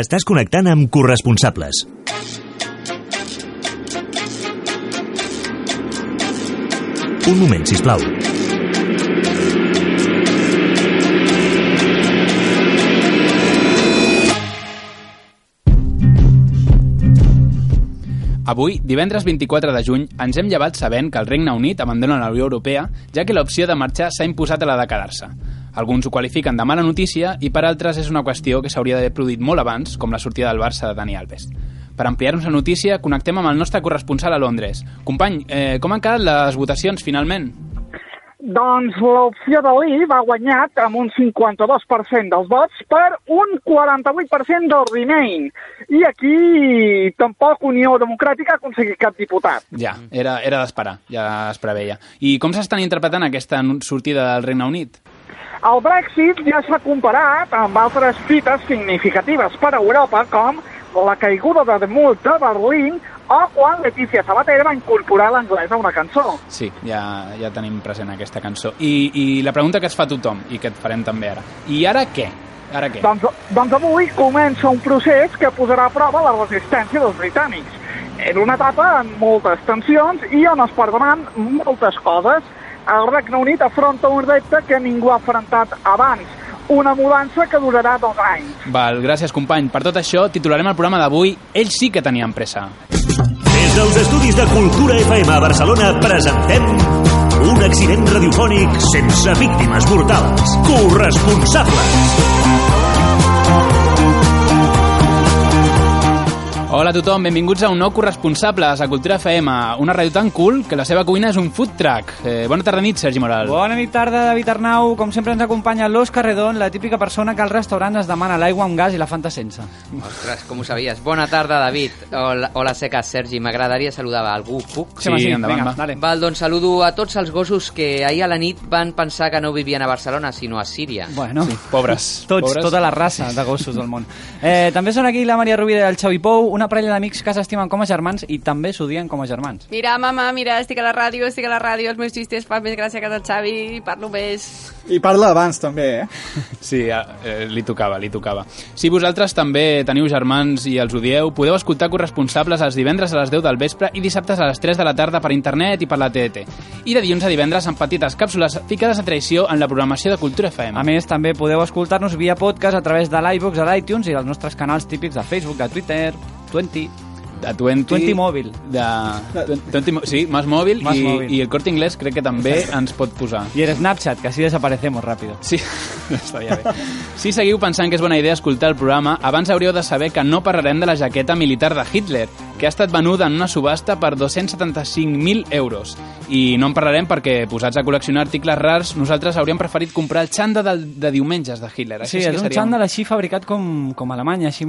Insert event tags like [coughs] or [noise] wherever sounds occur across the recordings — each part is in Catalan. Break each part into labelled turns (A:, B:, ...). A: Estàs connectant amb corresponsables. Un moment, si plau.
B: Avui, divendres 24 de juny, ens hem llevat sabent que el Regne Unit abandona la Unió Europea, ja que l'opció de marxar s'ha imposat a la de quedar-se. Alguns ho qualifiquen de mala notícia i per altres és una qüestió que s'hauria d'haver produït molt abans, com la sortida del Barça de Dani Alves. Per ampliar-nos la notícia, connectem amb el nostre corresponsal a Londres. Company, eh, com han quedat les votacions, finalment?
C: Doncs l'opció de l'IV ha guanyat amb un 52% dels vots per un 48% del Remain. I aquí tampoc Unió Democràtica ha aconseguit cap diputat.
B: Ja, era, era d'esperar, ja es preveia. I com s'estan interpretant aquesta nu- sortida del Regne Unit?
C: El Brexit ja s'ha comparat amb altres fites significatives per a Europa, com la caiguda de mult de Berlín o quan Letícia Sabater va incorporar l'anglès a una cançó.
B: Sí, ja, ja tenim present aquesta cançó. I, I la pregunta que es fa tothom, i que et farem també ara. I ara què? Ara què?
C: Doncs, doncs avui comença un procés que posarà a prova la resistència dels britànics. En una etapa amb moltes tensions i on es perdonan moltes coses. El Regne Unit afronta un repte que ningú ha afrontat abans, una mudança que durarà dos anys.
B: Val, gràcies company. Per tot això, titularem el programa d'avui Ells sí que tenien pressa.
A: Des dels estudis de Cultura FM a Barcelona presentem un accident radiofònic sense víctimes mortals. Corresponsables.
B: Hola a tothom, benvinguts a un nou Corresponsables a Cultura FM, una ràdio tan cool que la seva cuina és un food truck. Eh, bona tarda nit, Sergi Moral.
D: Bona nit, tarda, David Arnau. Com sempre ens acompanya l'Òscar Redon, la típica persona que al restaurant es demana l'aigua amb gas i la Fanta sense.
E: Ostres, com ho sabies? Bona tarda, David. Hola, hola seques, Sergi. M'agradaria saludar a algú, puc?
B: Sí,
D: home,
B: endavant,
D: vinga,
B: va.
D: dale.
E: Val, doncs saludo a tots els gossos que ahir a la nit van pensar que no vivien a Barcelona, sinó a Síria.
D: Bueno,
B: Sí, pobres.
D: [laughs] tots,
B: pobres.
D: tota la raça de gossos del món. Eh, també són aquí la Maria Rovira i el Xavi Pou, una parella d'amics que s'estimen com a germans i també s'odien com a germans.
F: Mira, mama, mira, estic a la ràdio, estic a la ràdio, els meus xistes fan més gràcia que del Xavi i parlo més.
G: I parla abans, també, eh?
B: Sí, eh, eh, li tocava, li tocava. Si vosaltres també teniu germans i els odieu, podeu escoltar corresponsables els divendres a les 10 del vespre i dissabtes a les 3 de la tarda per internet i per la TDT. I de dilluns a divendres en petites càpsules ficades a traïció en la programació de Cultura FM.
D: A més, també podeu escoltar-nos via podcast a través de l'iVox, de l'iTunes i dels nostres canals típics de Facebook, de Twitter, 20...
B: de 20...
D: 20 mòbil.
B: De... 20, mo- sí, Más Mòbil,
D: Más
B: i,
D: Mòbil.
B: i el Corte Inglés crec que també ens pot posar.
D: I el Snapchat, que així desaparecemos ràpido.
B: Sí, [laughs] estaria bé. Si seguiu pensant que és bona idea escoltar el programa, abans hauríeu de saber que no parlarem de la jaqueta militar de Hitler, que ha estat venuda en una subhasta per 275.000 euros. I no en parlarem perquè, posats a col·leccionar articles rars, nosaltres hauríem preferit comprar el xanda de, de diumenges de Hitler. Això
D: Sí,
B: que
D: és un
B: seria
D: xandall així fabricat com, com a Alemanya, així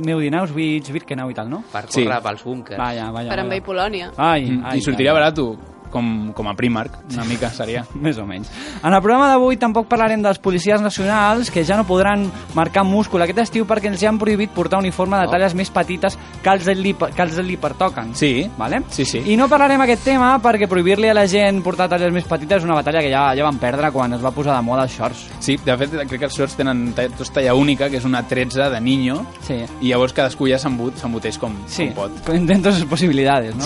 D: Meudinauswitz, Birkenau i tal, no?
E: Per
B: Sí.
E: córrer pels búnkers.
D: Vaja, vaja.
F: per
D: vaja.
F: envair Polònia.
D: Ai,
B: Mm,
D: ai,
B: I sortiria
D: ai, ai.
B: barat com, com a Primark, una mica seria.
D: [laughs] Més o menys. En el programa d'avui tampoc parlarem dels policies nacionals que ja no podran marcar múscul aquest estiu perquè els ja han prohibit portar uniforme
E: Oh.
D: de talles més petites que els, li, que els li pertoquen.
B: Sí.
D: Vale?
B: Sí, sí.
D: I no parlarem aquest tema perquè prohibir-li a la gent portar talles més petites és una batalla que ja, ja van perdre quan es va posar de moda els shorts.
B: Sí, de fet, crec que els shorts tenen ta- tots talla única, que és una 13 de niño,
D: Sí.
B: i llavors cadascú ja s'embut- s'embuteix com,
D: Sí,
B: com pot.
D: dentro de sus possibilitats, no?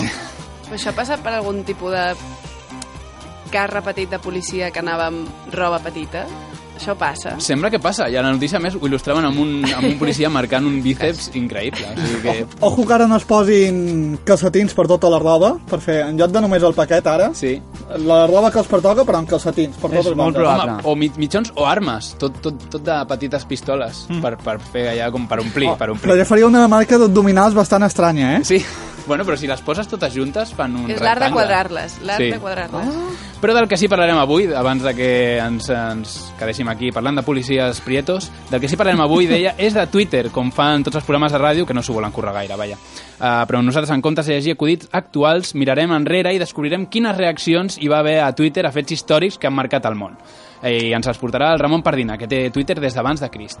F: Però això passa per algun tipus de cas repetit de policia que anava amb roba petita? Això passa.
B: Sembla que passa, i a la notícia a més ho il·lustraven amb un, amb un policia marcant un bíceps increïble. O sigui que...
G: Ojo que ara no es posin calcetins per tota la roba, per fer, en lloc de només el paquet, ara,
B: Sí.
G: la roba que els pertoca, però amb calcetins, Oh. per
D: És
G: totes
D: molt
G: bandes.
B: Home,
D: Probable.
B: o mit, mitjons o armes, tot, tot, tot de petites pistoles mm. per, per fer allà com per omplir, oh, per
G: Però
B: omplir.
G: ja faria una marca d'abdominals bastant estranya, eh?
B: Sí, bueno, però si les poses totes juntes fan un
F: És l'art de
B: rectangle.
F: quadrar-les, l'art
B: Sí. Ah.
F: de quadrar-les.
B: Però del que sí parlarem avui, abans de que ens, ens quedéssim aquí parlant de policies prietos, del que sí parlarem avui, deia, és de Twitter, com fan tots els programes de ràdio, que no s'ho volen currar gaire, vaja. Uh, però nosaltres, en comptes de llegir acudits actuals, mirarem enrere i descobrirem quines reaccions hi va haver a Twitter a fets històrics que han marcat el món. Eh, I ens els portarà el Ramon Pardina, que té Twitter des d'abans de Crist.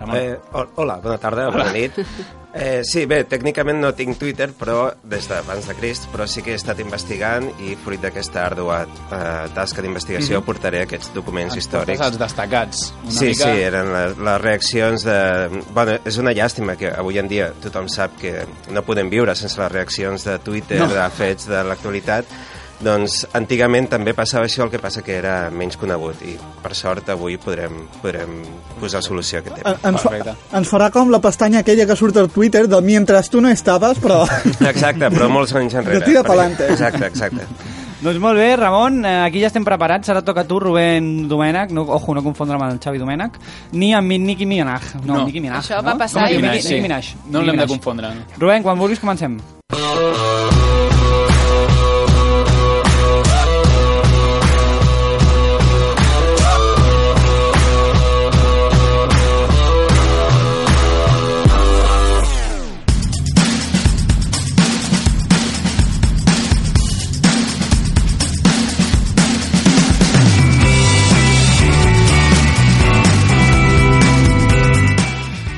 B: Ramon.
H: Eh, ho- hola, bona tarda, bona nit. Eh, sí, bé, tècnicament no tinc Twitter, però des d'abans de Crist, però sí que he estat investigant i fruit d'aquesta ardua eh, tasca d'investigació
B: Mhm.
H: portaré aquests documents
B: ens portes
H: històrics.
B: els destacats. Una
H: Sí,
B: mica...
H: sí, eren les, les reaccions de... Bueno, és una llàstima que avui en dia tothom sap que no podem viure sense les reaccions de Twitter,
B: No.
H: no. de fets, de l'actualitat. Doncs antigament també passava això, el que passa que era menys conegut i per sort avui podrem, podrem posar solució a aquest tema.
G: Ens,
B: Perfecte.
G: fa, ens farà com la pestanya aquella que surt al Twitter de mientras tu no estaves, però... [laughs]
H: Exacte, però molts anys enrere.
G: De tira
H: Perquè-
G: pa'lante.
H: Exacte, exacte.
D: Doncs molt bé, Ramon, eh, aquí ja estem preparats. Ara toca a tu, Rubén Domènech. No, ojo, no confondre'm amb el Xavi Domènech. Ni amb mi- Nicki Minaj. No,
B: No.
D: Nicki Minaj.
F: Això
D: no?
F: va
D: No,
F: passar ahir.
D: Nicki,
B: Minaj,
D: Nicki,
B: sí.
D: Minaj. Nicki
B: No l'hem de
D: Minaj.
B: confondre. no?
D: Rubén, quan vulguis comencem.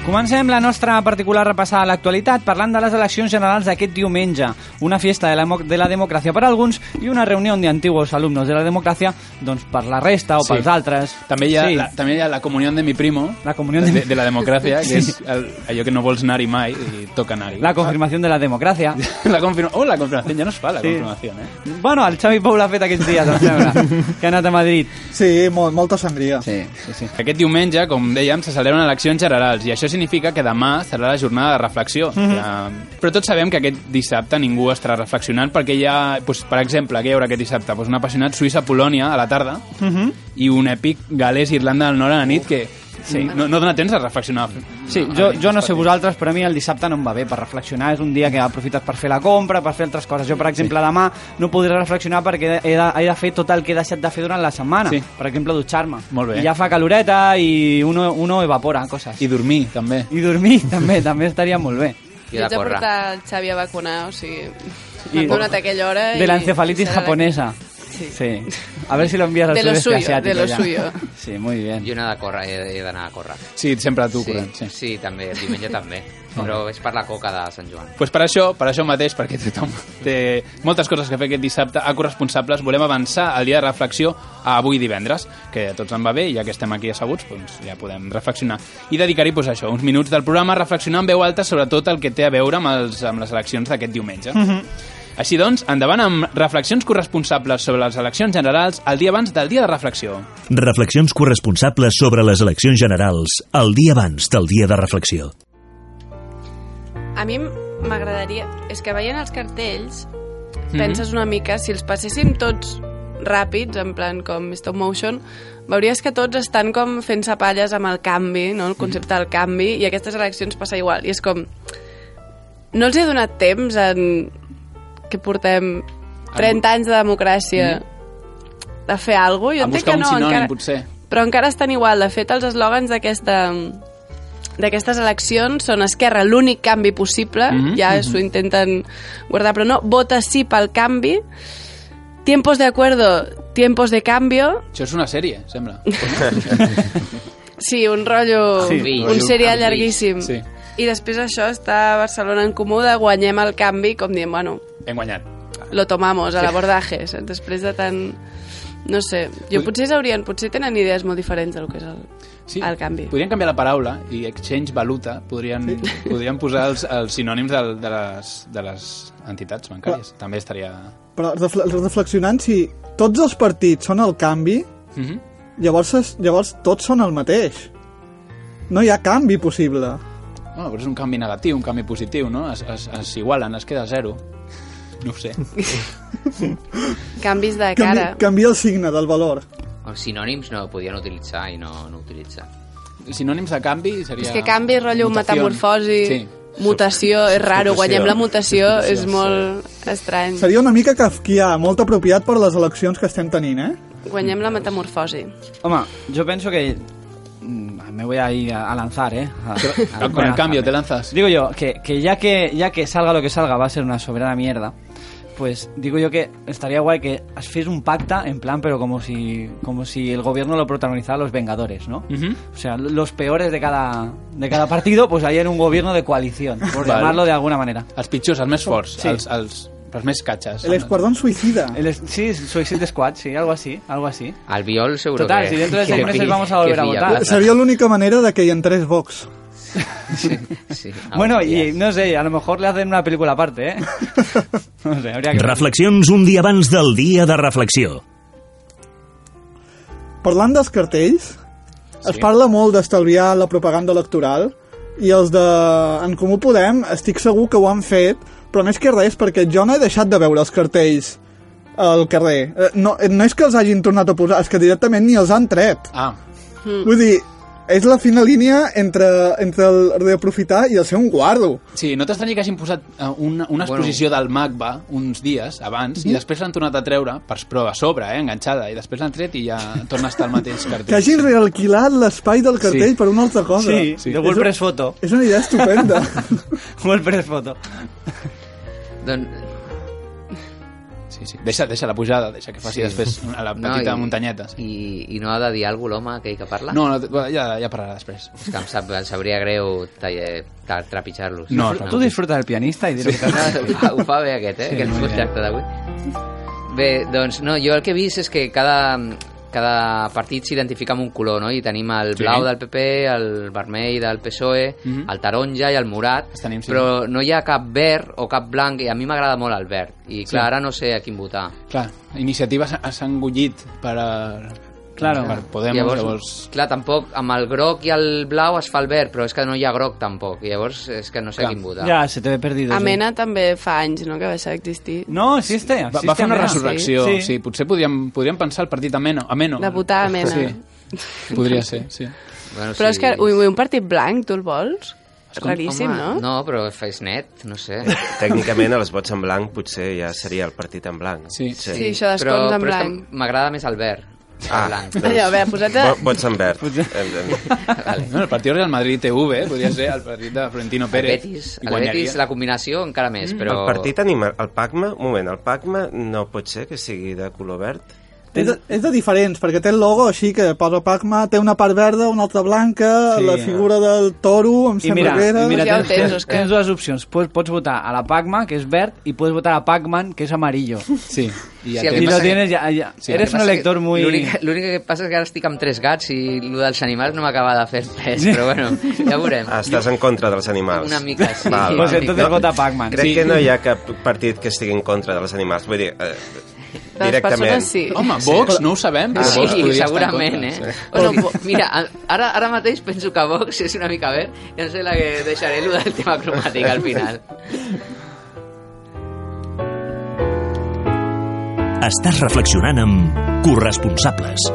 D: Comencem la nostra particular repassada a l'actualitat parlant de les eleccions generals d'aquest diumenge. Una fiesta de la, mo- de la democràcia per a alguns i una reunió de antiguos alumnos de la democràcia doncs, per la resta o
B: Sí.
D: pels altres.
B: També hi ha,
D: Sí.
B: sí. la, també hi ha la comunió de mi primo,
D: La comunión de
B: de,
D: mi-
B: de la
D: [laughs]
B: democràcia, que sí. és el, allò que no vols anar-hi mai i toca anar-hi.
D: La confirmació de la democràcia.
B: [laughs] la confirmació. Oh, la confirmació, ja no es fa la
D: Sí.
B: sí. confirmació, eh?
D: Bueno, el Xavi Pou l'ha fet aquests dies, em
B: [laughs]
D: sembla, que ha anat a Madrid.
G: Sí, molt, molta sangria.
B: Sí, sí, sí. Aquest diumenge, com dèiem, se celebren eleccions generals i això significa que demà serà la jornada de reflexió.
D: Mhm.
B: Mm -hmm. Però tots sabem que aquest dissabte ningú estarà reflexionant perquè hi ha, doncs, per exemple, què hi haurà aquest dissabte? Doncs un apassionat Suïssa-Polònia a la tarda mm -hmm. i un èpic galès-Irlanda del Nord a la nit que sí. no, no dona temps a reflexionar.
D: Sí,
B: A la
D: jo,
B: nit
D: jo no
B: dels
D: sé
B: partits.
D: vosaltres, però a mi el dissabte no em va bé per reflexionar. És un dia que aprofites per fer la compra, per fer altres coses. Jo, per exemple, demà no podré reflexionar perquè he de, he de fer tot el que he deixat de fer durant la setmana.
B: Sí.
D: Per exemple, dutxar-me.
B: Molt bé.
D: I ja fa caloreta i uno, uno evapora coses.
B: I dormir, també.
D: I dormir [laughs] també, també estaria molt bé.
E: I de
F: Vaig a
E: córrer.
F: portar el Xavi a vacunar, o sigui...
D: I-
F: I... Dona't aquella hora i...
D: de l'encefalitis
F: i serà la-
D: japonesa.
F: Sí.
D: Sí. A ver si lo envías al
F: De lo
D: sudeste
F: suyo,
D: asiático
F: de lo
D: ya.
F: suyo.
D: [laughs] Sí, muy bien.
E: I una de córrer, he, he d'anar a córrer.
B: Sí, sempre tu, sí. Corrent,
E: sí,
B: sí.
E: sí, també, diumenge
B: [laughs]
E: també. Però és per la coca de Sant Joan.
B: pues per això, per això mateix, perquè tothom té moltes coses que fer aquest dissabte a Corresponsables, volem avançar el dia de reflexió a avui divendres, que a tots en va bé i ja que estem aquí asseguts, doncs ja podem reflexionar. I dedicar-hi pues, això, uns minuts del programa a reflexionar en veu alta sobre tot el que té a veure amb, els, amb les eleccions d'aquest diumenge.
F: Mhm.
B: Mm -hmm. Així doncs, endavant amb reflexions corresponsables sobre les eleccions generals el dia abans del dia de reflexió.
A: Reflexions corresponsables sobre les eleccions generals el dia abans del dia de reflexió.
F: A mi m'agradaria... És que veient els cartells,
B: Mhm.
F: penses una mica, si els passéssim tots ràpids, en plan com stop motion, veuries que tots estan com fent-se palles amb el canvi, no? el concepte del canvi, i aquestes eleccions passa igual. I és com... No els he donat temps en... que portem 30 anys de democràcia de fer alguna cosa. Jo
B: Mm. A
F: entenc
B: buscar
F: que
B: un
F: no,
B: sinònim,
F: encara
B: potser.
F: però encara estan igual. De fet, els eslògans d'aquesta d'aquestes eleccions són Esquerra l'únic canvi possible, mm
B: Mhm,
F: -hmm. ja s'ho intenten guardar, però no, vota sí pel canvi, tiempos de acuerdo, tiempos de cambio,
B: Això és una sèrie, sembla.
F: [laughs] sí, un rotllo,
D: Sí,
F: sí, un
E: rotllo
F: serial
E: canvi.
F: llarguíssim.
B: Sí.
F: Sí. I després això està a Barcelona en Comú de guanyem el canvi, com diem, bueno,
B: Hem guanyat.
F: lo tomamos a l'abordatge, saps? després de tant... No sé, jo potser s'haurien, potser tenen idees molt diferents del que és el, sí. el canvi.
B: Podrien canviar la paraula i exchange valuta, podrien, sí. [laughs] podrien posar els, els sinònims de, de, les, de les entitats bancàries. També estaria...
G: Però refle- reflexionant, si tots els partits són el canvi,
B: Mm
G: Mhm.
B: -hmm.
G: llavors, es- llavors tots són el mateix. No hi ha canvi possible.
B: Bueno, però és un canvi negatiu, un canvi positiu, no? Es, es, es igualen, es queda zero. No ho
G: [laughs]
B: sé.
F: Canvis de
G: Canvi,
F: cara.
G: canvia el signe del valor.
E: Els sinònims no podien utilitzar i no, no utilitzar.
B: Sinònims de canvi seria...
F: És que canvi, rotllo
B: mutación.
F: metamorfosi,
B: Sí.
F: mutació, és raro,
H: substitució.
F: guanyem la mutació, és molt estrany.
G: Seria una mica kafkià, molt apropiat per les eleccions que estem tenint, eh?
F: Guanyem la metamorfosi.
D: Home, yo pienso que mm, me voy a ir a a lanzar, ¿eh? A- a-
B: Con el cambio te lanzas.
D: Digo yo, que, que ya que ya que salga lo que salga va a ser una soberana mierda. pues digo yo que estaría guay que es fes un pacta en plan, pero como si, como si el gobierno lo protagonizara los Vengadores, ¿no?
B: Ujú.
D: O sea, lo- los peores de cada, de cada partido, pues ahí en un gobierno de coalición, por
B: Vale.
D: llamarlo de alguna manera.
B: Els pitjors, els més forts,
D: Sí.
B: els, els, els més catxes.
G: El escuadrón suicida.
D: El, es- sí, Suicide Squad, sí, algo así, algo así.
E: Al viol seguro
D: Total,
E: que...
D: si dentro de
E: que
D: seis meses
E: pilla-
D: vamos a volver
E: que
D: a
E: pilla
D: votar.
E: plata.
G: Seria l'única manera de que hi entrés Vox.
E: Sí, a
D: bueno,
E: ver,
D: y
E: ya.
D: no sé, a lo mejor le hacen una película aparte, ¿eh? no sé, habría que...
A: Reflexions un dia abans del dia de reflexió.
G: Parlant dels cartells, es parla molt d'estalviar la propaganda electoral i els de En Comú Podem estic segur que ho han fet, però més que res perquè jo no he deixat de veure els cartells al carrer. Eh, No, eh, no és que els hagin tornat a posar, és que directament ni els han tret.
B: Ah,
G: Vull dir, és la fina línia entre, entre el reaprofitar i el ser un guardo.
B: sí, no t'estranyi que hagin posat eh, una, una exposició del MACBA uns dies abans
G: Mhm.
B: i després l'han tornat a treure per prova a sobre, eh, enganxada, i després l'han tret i ja torna a estar el
G: [laughs]
B: mateix cartell.
G: Que hagin realquilat l'espai del cartell
B: Sí.
G: per una altra cosa.
D: Sí,
B: Sí.
D: de WordPress Photo.
G: És [laughs] una idea
D: [laughs]
G: estupenda.
D: WordPress Photo.
E: Don-
B: Sí, sí. Deixa, deixa la pujada, deixa que faci sí.
E: Sí.
B: després a la
E: no,
B: petita
E: i-
B: no, muntanyeta. Sí.
E: I, I no ha de dir alguna cosa l'home aquell que parla?
B: No, no, t- ja, ja parlarà després.
E: És que em, sap, em sabria greu taller- ta- eh, trepitjar-los.
B: No,
E: no.
D: Tu disfruta del pianista i dir-ho sí.
B: [laughs]
E: [laughs] ho, fa, ho fa bé aquest, eh?
B: Sí,
E: Sí, aquest
B: molt bé.
E: contracte d'avui. Bé, doncs, no, jo el que he vist és que cada, cada partit s'identifica amb un color, no? I tenim el
B: Sí.
E: blau del PP, el vermell del PSOE,
B: Mhm.
E: E, el taronja i el morat,
B: Els tenim, sí.
E: però no hi ha cap verd o cap blanc, i a mi m'agrada molt el verd. I clar, ara no sé a quin votar.
B: Clar, iniciatives s'han engullit per... A...
D: Claro.
B: Per Podem, llavors... llavors...
E: Clar, tampoc, amb el groc i el blau es fa el verd, però és que no hi ha groc tampoc, i llavors és que no sé
B: Clar.
E: a quin votar.
D: Ja, se te ve
G: Ah,
D: perdido. sí.
F: Amena també fa anys, no?, que va deixar d'existir.
D: No, existe.
B: Va,
D: existe
B: va fer una
D: Amena.
B: resurrecció,
D: Sí.
B: sí. sí. Potser podríem, podríem pensar el partit ameno. ameno.
F: De votar Amena.
B: Sí, podria ser, sí.
E: Bueno,
F: Però és que, ui, ui, un partit blanc, tu el vols? És raríssim,
E: Home,
B: doncs-
F: no?
E: No, però és net, no
B: [laughs]
E: sé.
H: Tècnicament, els vots en blanc potser ja seria el partit en blanc.
B: Sí.
F: Sí, això d'escons en
E: però és que
F: blanc.
E: M'agrada més el verd. Ah.
H: Ah,
E: blanc.
H: doncs,
F: Allò, a veure, posat a-
H: vo- Vots en verd. Em- em-
B: Vale. [laughs] No, el partit Real Madrid TV, eh? podria ser el partit de Florentino
E: El
B: Pérez.
E: Betis,
B: I
E: el
B: guanyaria.
E: Betis, la combinació encara més, però...
H: Mm. El partit animal... El PACMA... Un moment, el PACMA no pot ser que sigui de color verd?
G: És de, és de diferents, perquè té el logo així que posa Pacma, té una part verda, una altra blanca,
D: Sí.
G: sí, la figura del toro, em
D: I
G: sembla
D: mira,
G: que era...
D: i mira
F: Ja ho
D: tens,
F: tens,
D: tens,
F: Òscar.
D: tens dues opcions. Pots, pots votar a la Pac-Man, que és verd, i pots votar a Pac-Man, que és amarillo.
B: Sí. I ja
E: Sí,
D: Si
E: el que
B: tens...
D: lo
E: passa
D: tienes ya, ya.
B: Sí,
D: Eres un
E: Passa que
D: elector muy...
E: L'únic l'únic que passa és que ara estic amb tres gats i el dels animals no m'acaba de fer pes, però bueno, ja veurem.
H: Ah, estàs en contra dels animals.
E: Una mica, sí.
H: Val,
D: Pues
H: val.
D: entonces vota Pac-Man.
H: Crec
B: Sí.
H: que no hi ha cap partit que estigui en contra dels animals. Vull dir, eh,
F: De les
H: directament... Ah,
F: persones sí.
B: Home, Vox, no ho sabem, però Vox
E: Sí,
B: podria
E: segurament,
B: estar en
E: eh?
B: contra.
E: Bueno, bo- mira, a- ara, ara mateix penso que Vox és una mica verd i no sé la que deixaré el del tema cromàtic
I: [laughs]
E: al final.
A: Estàs reflexionant amb corresponsables.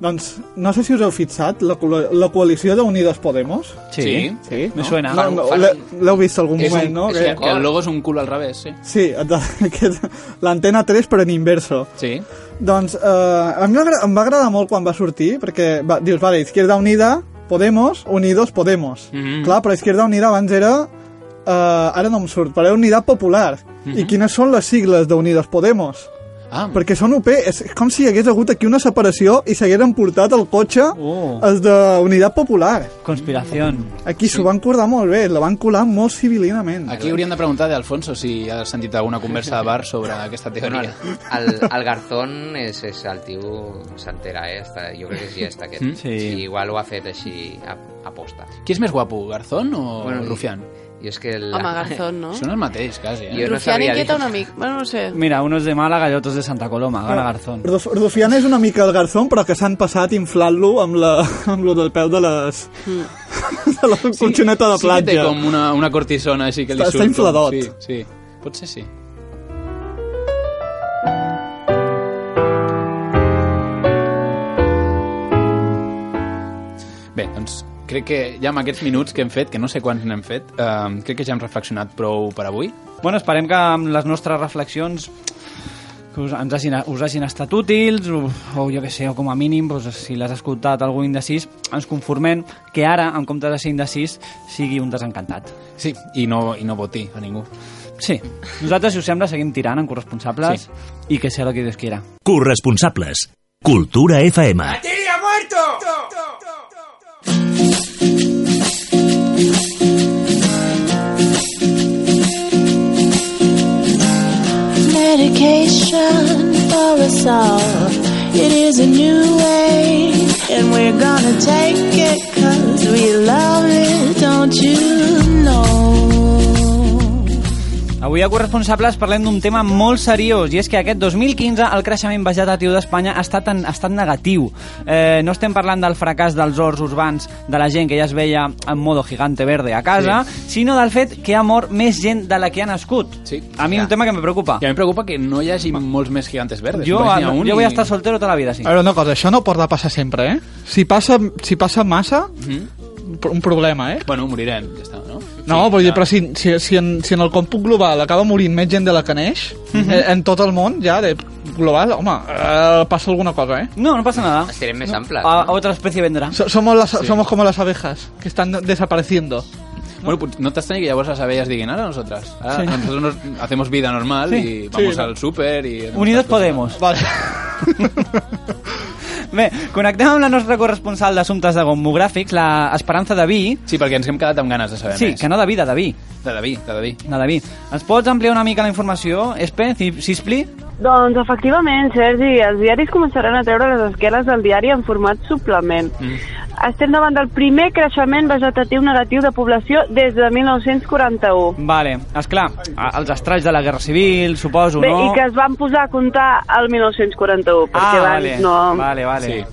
G: Doncs no sé si us heu fixat, la, colo- la coalició d'Unides Podemos.
D: Sí.
B: Sí.
G: Sí,
D: Me suena.
G: No, no,
E: Fan-
G: l'he- L'heu vist algun
B: És
G: moment,
B: un,
G: no?
B: és
G: Que-
B: que, que el logo és un cul al revés, sí.
G: Sí, exacte, [laughs] aquest- l'antena 3 per en inverso.
B: Sí.
G: Doncs eh, a mi m'agra- em va agradar molt quan va sortir, perquè va, dius, vale, Izquierda Unida, Podemos, Unidos Podemos.
B: Mhm.
G: Clar, però Izquierda Unida abans era... eh, ara no em surt, però era Unidad Popular. I quines són les sigles d'Unidos Podemos?
B: Mhm. Ah,
G: Perquè són UP, és com si hi hagués hagut aquí una separació i s'hagueren portat el cotxe
D: Oh.
G: els de Unitat Popular.
D: Conspiración.
G: Aquí s'ho van cordar molt bé, la van colar molt civilinament.
B: aquí hauríem de preguntar a Alfonso si ha sentit alguna conversa de bar sobre aquesta
E: Bueno,
B: teoria.
E: el, el Garzón és, és el tio s'entera, eh? Està, jo crec que sí, està aquest.
B: Mm?
D: Sí.
E: sí. Igual ho ha fet així a, a posta.
B: Qui és més guapo, Garzón o
E: Bueno, i-
B: Rufián?
E: Jo és que... La...
F: Home, Garzón, no?
B: Són el mateix, quasi, eh?
E: Jo no
F: Rufián
E: sabria
F: inquieta
E: dir.
F: un amic. Bueno, no ho sé.
D: Mira, uno es de Málaga y otro es de Santa Coloma.
B: Ah.
D: Gana Garzón.
G: Ruf- Rufián és una mica el garzón, però que s'han passat inflant-lo amb, la, amb lo del peu de les... de la colxoneta de
B: Sí que té
G: platja.
B: com una, una cortisona així que li
G: Està-
B: surt.
G: està infladot.
B: Sí, sí. Potser sí. Bé, doncs crec que ja amb aquests minuts que hem fet, que no sé quants n'hem fet, eh, crec que ja hem reflexionat prou per avui.
D: Bueno, esperem que amb les nostres reflexions que us, ens hagin, us hagin estat útils o, o jo que sé, o com a mínim doncs, si l'has escoltat algú indecís ens conformem que ara, en comptes de ser indecís sigui un desencantat
B: Sí, i no, i no voti a ningú.
D: Sí. Nosaltres, si us sembla, seguim tirant en corresponsables
B: Sí.
D: i que sea lo que Dios quiera.
A: Corresponsables. Cultura FM.
J: medication for us all. It is a new way, and we're gonna take it 'cause we love it, don't you know?
D: Avui a Corresponsables parlem d'un tema molt seriós i és que aquest 2015 el creixement vegetatiu d'Espanya ha, estat en, ha estat negatiu. Eh, no estem parlant del fracàs dels horts urbans de la gent que ja es veia en modo gigante verde a casa, sí. sinó del fet que ha mort més gent de la que ha nascut.
B: Sí.
D: A mi
B: Ja.
D: un tema que em preocupa.
B: I a mi em preocupa que no hi hagi molts més gigantes verdes.
D: Jo,
B: Només n'hi ha un
D: jo
B: i-
D: vull estar soltero tota la vida, sí.
G: A veure, una cosa, això no podrà passar sempre, eh? Si passa, si passa massa, un pro- un problema, eh?
B: Bueno, morirem, Mhm. ja està, no?
G: No,
B: Sí,
G: vull dir,
B: ja.
G: però si, si, si, en, si en el còmput global acaba morint més gent de la que neix, eh, en tot el món, ja, de global, home, eh, passa alguna cosa, eh?
D: No, no passa nada.
E: Estirem més amples.
D: A, a
E: no?
D: otra especie vendrá.
G: So- Somos, las, somos como las abejas, que están desapareciendo.
B: Bueno, pues no te extraña que llavors les abelles diguin ara nosaltres. Ara
G: Sí.
B: nosotros nos hacemos vida normal y vamos al súper y...
D: Unidos Podemos.
G: Vale.
D: [laughs] Bé, connectem amb la nostra corresponsal d'assumptes de gomogràfics, la Esperanza Daví.
B: Sí, perquè ens hem quedat amb ganes de saber
D: Sí,
B: més.
D: que no Daví, de Daví.
B: De David, de David.
D: De Daví. Ens pots ampliar una mica la informació, Espe, si- sispli?
K: Doncs efectivament, Sergi, els diaris començaran a treure les esqueles del diari en format suplement. Mm. Estem davant del primer creixement vegetatiu negatiu de població des de 1941.
D: Vale, esclar, a- els estralls de la Guerra Civil, suposo,
K: Bé,
D: no?
K: i que es van posar a comptar el 1941,
D: Ah,
K: perquè abans
D: vale,
K: no...
D: vale, vale.
B: Sí.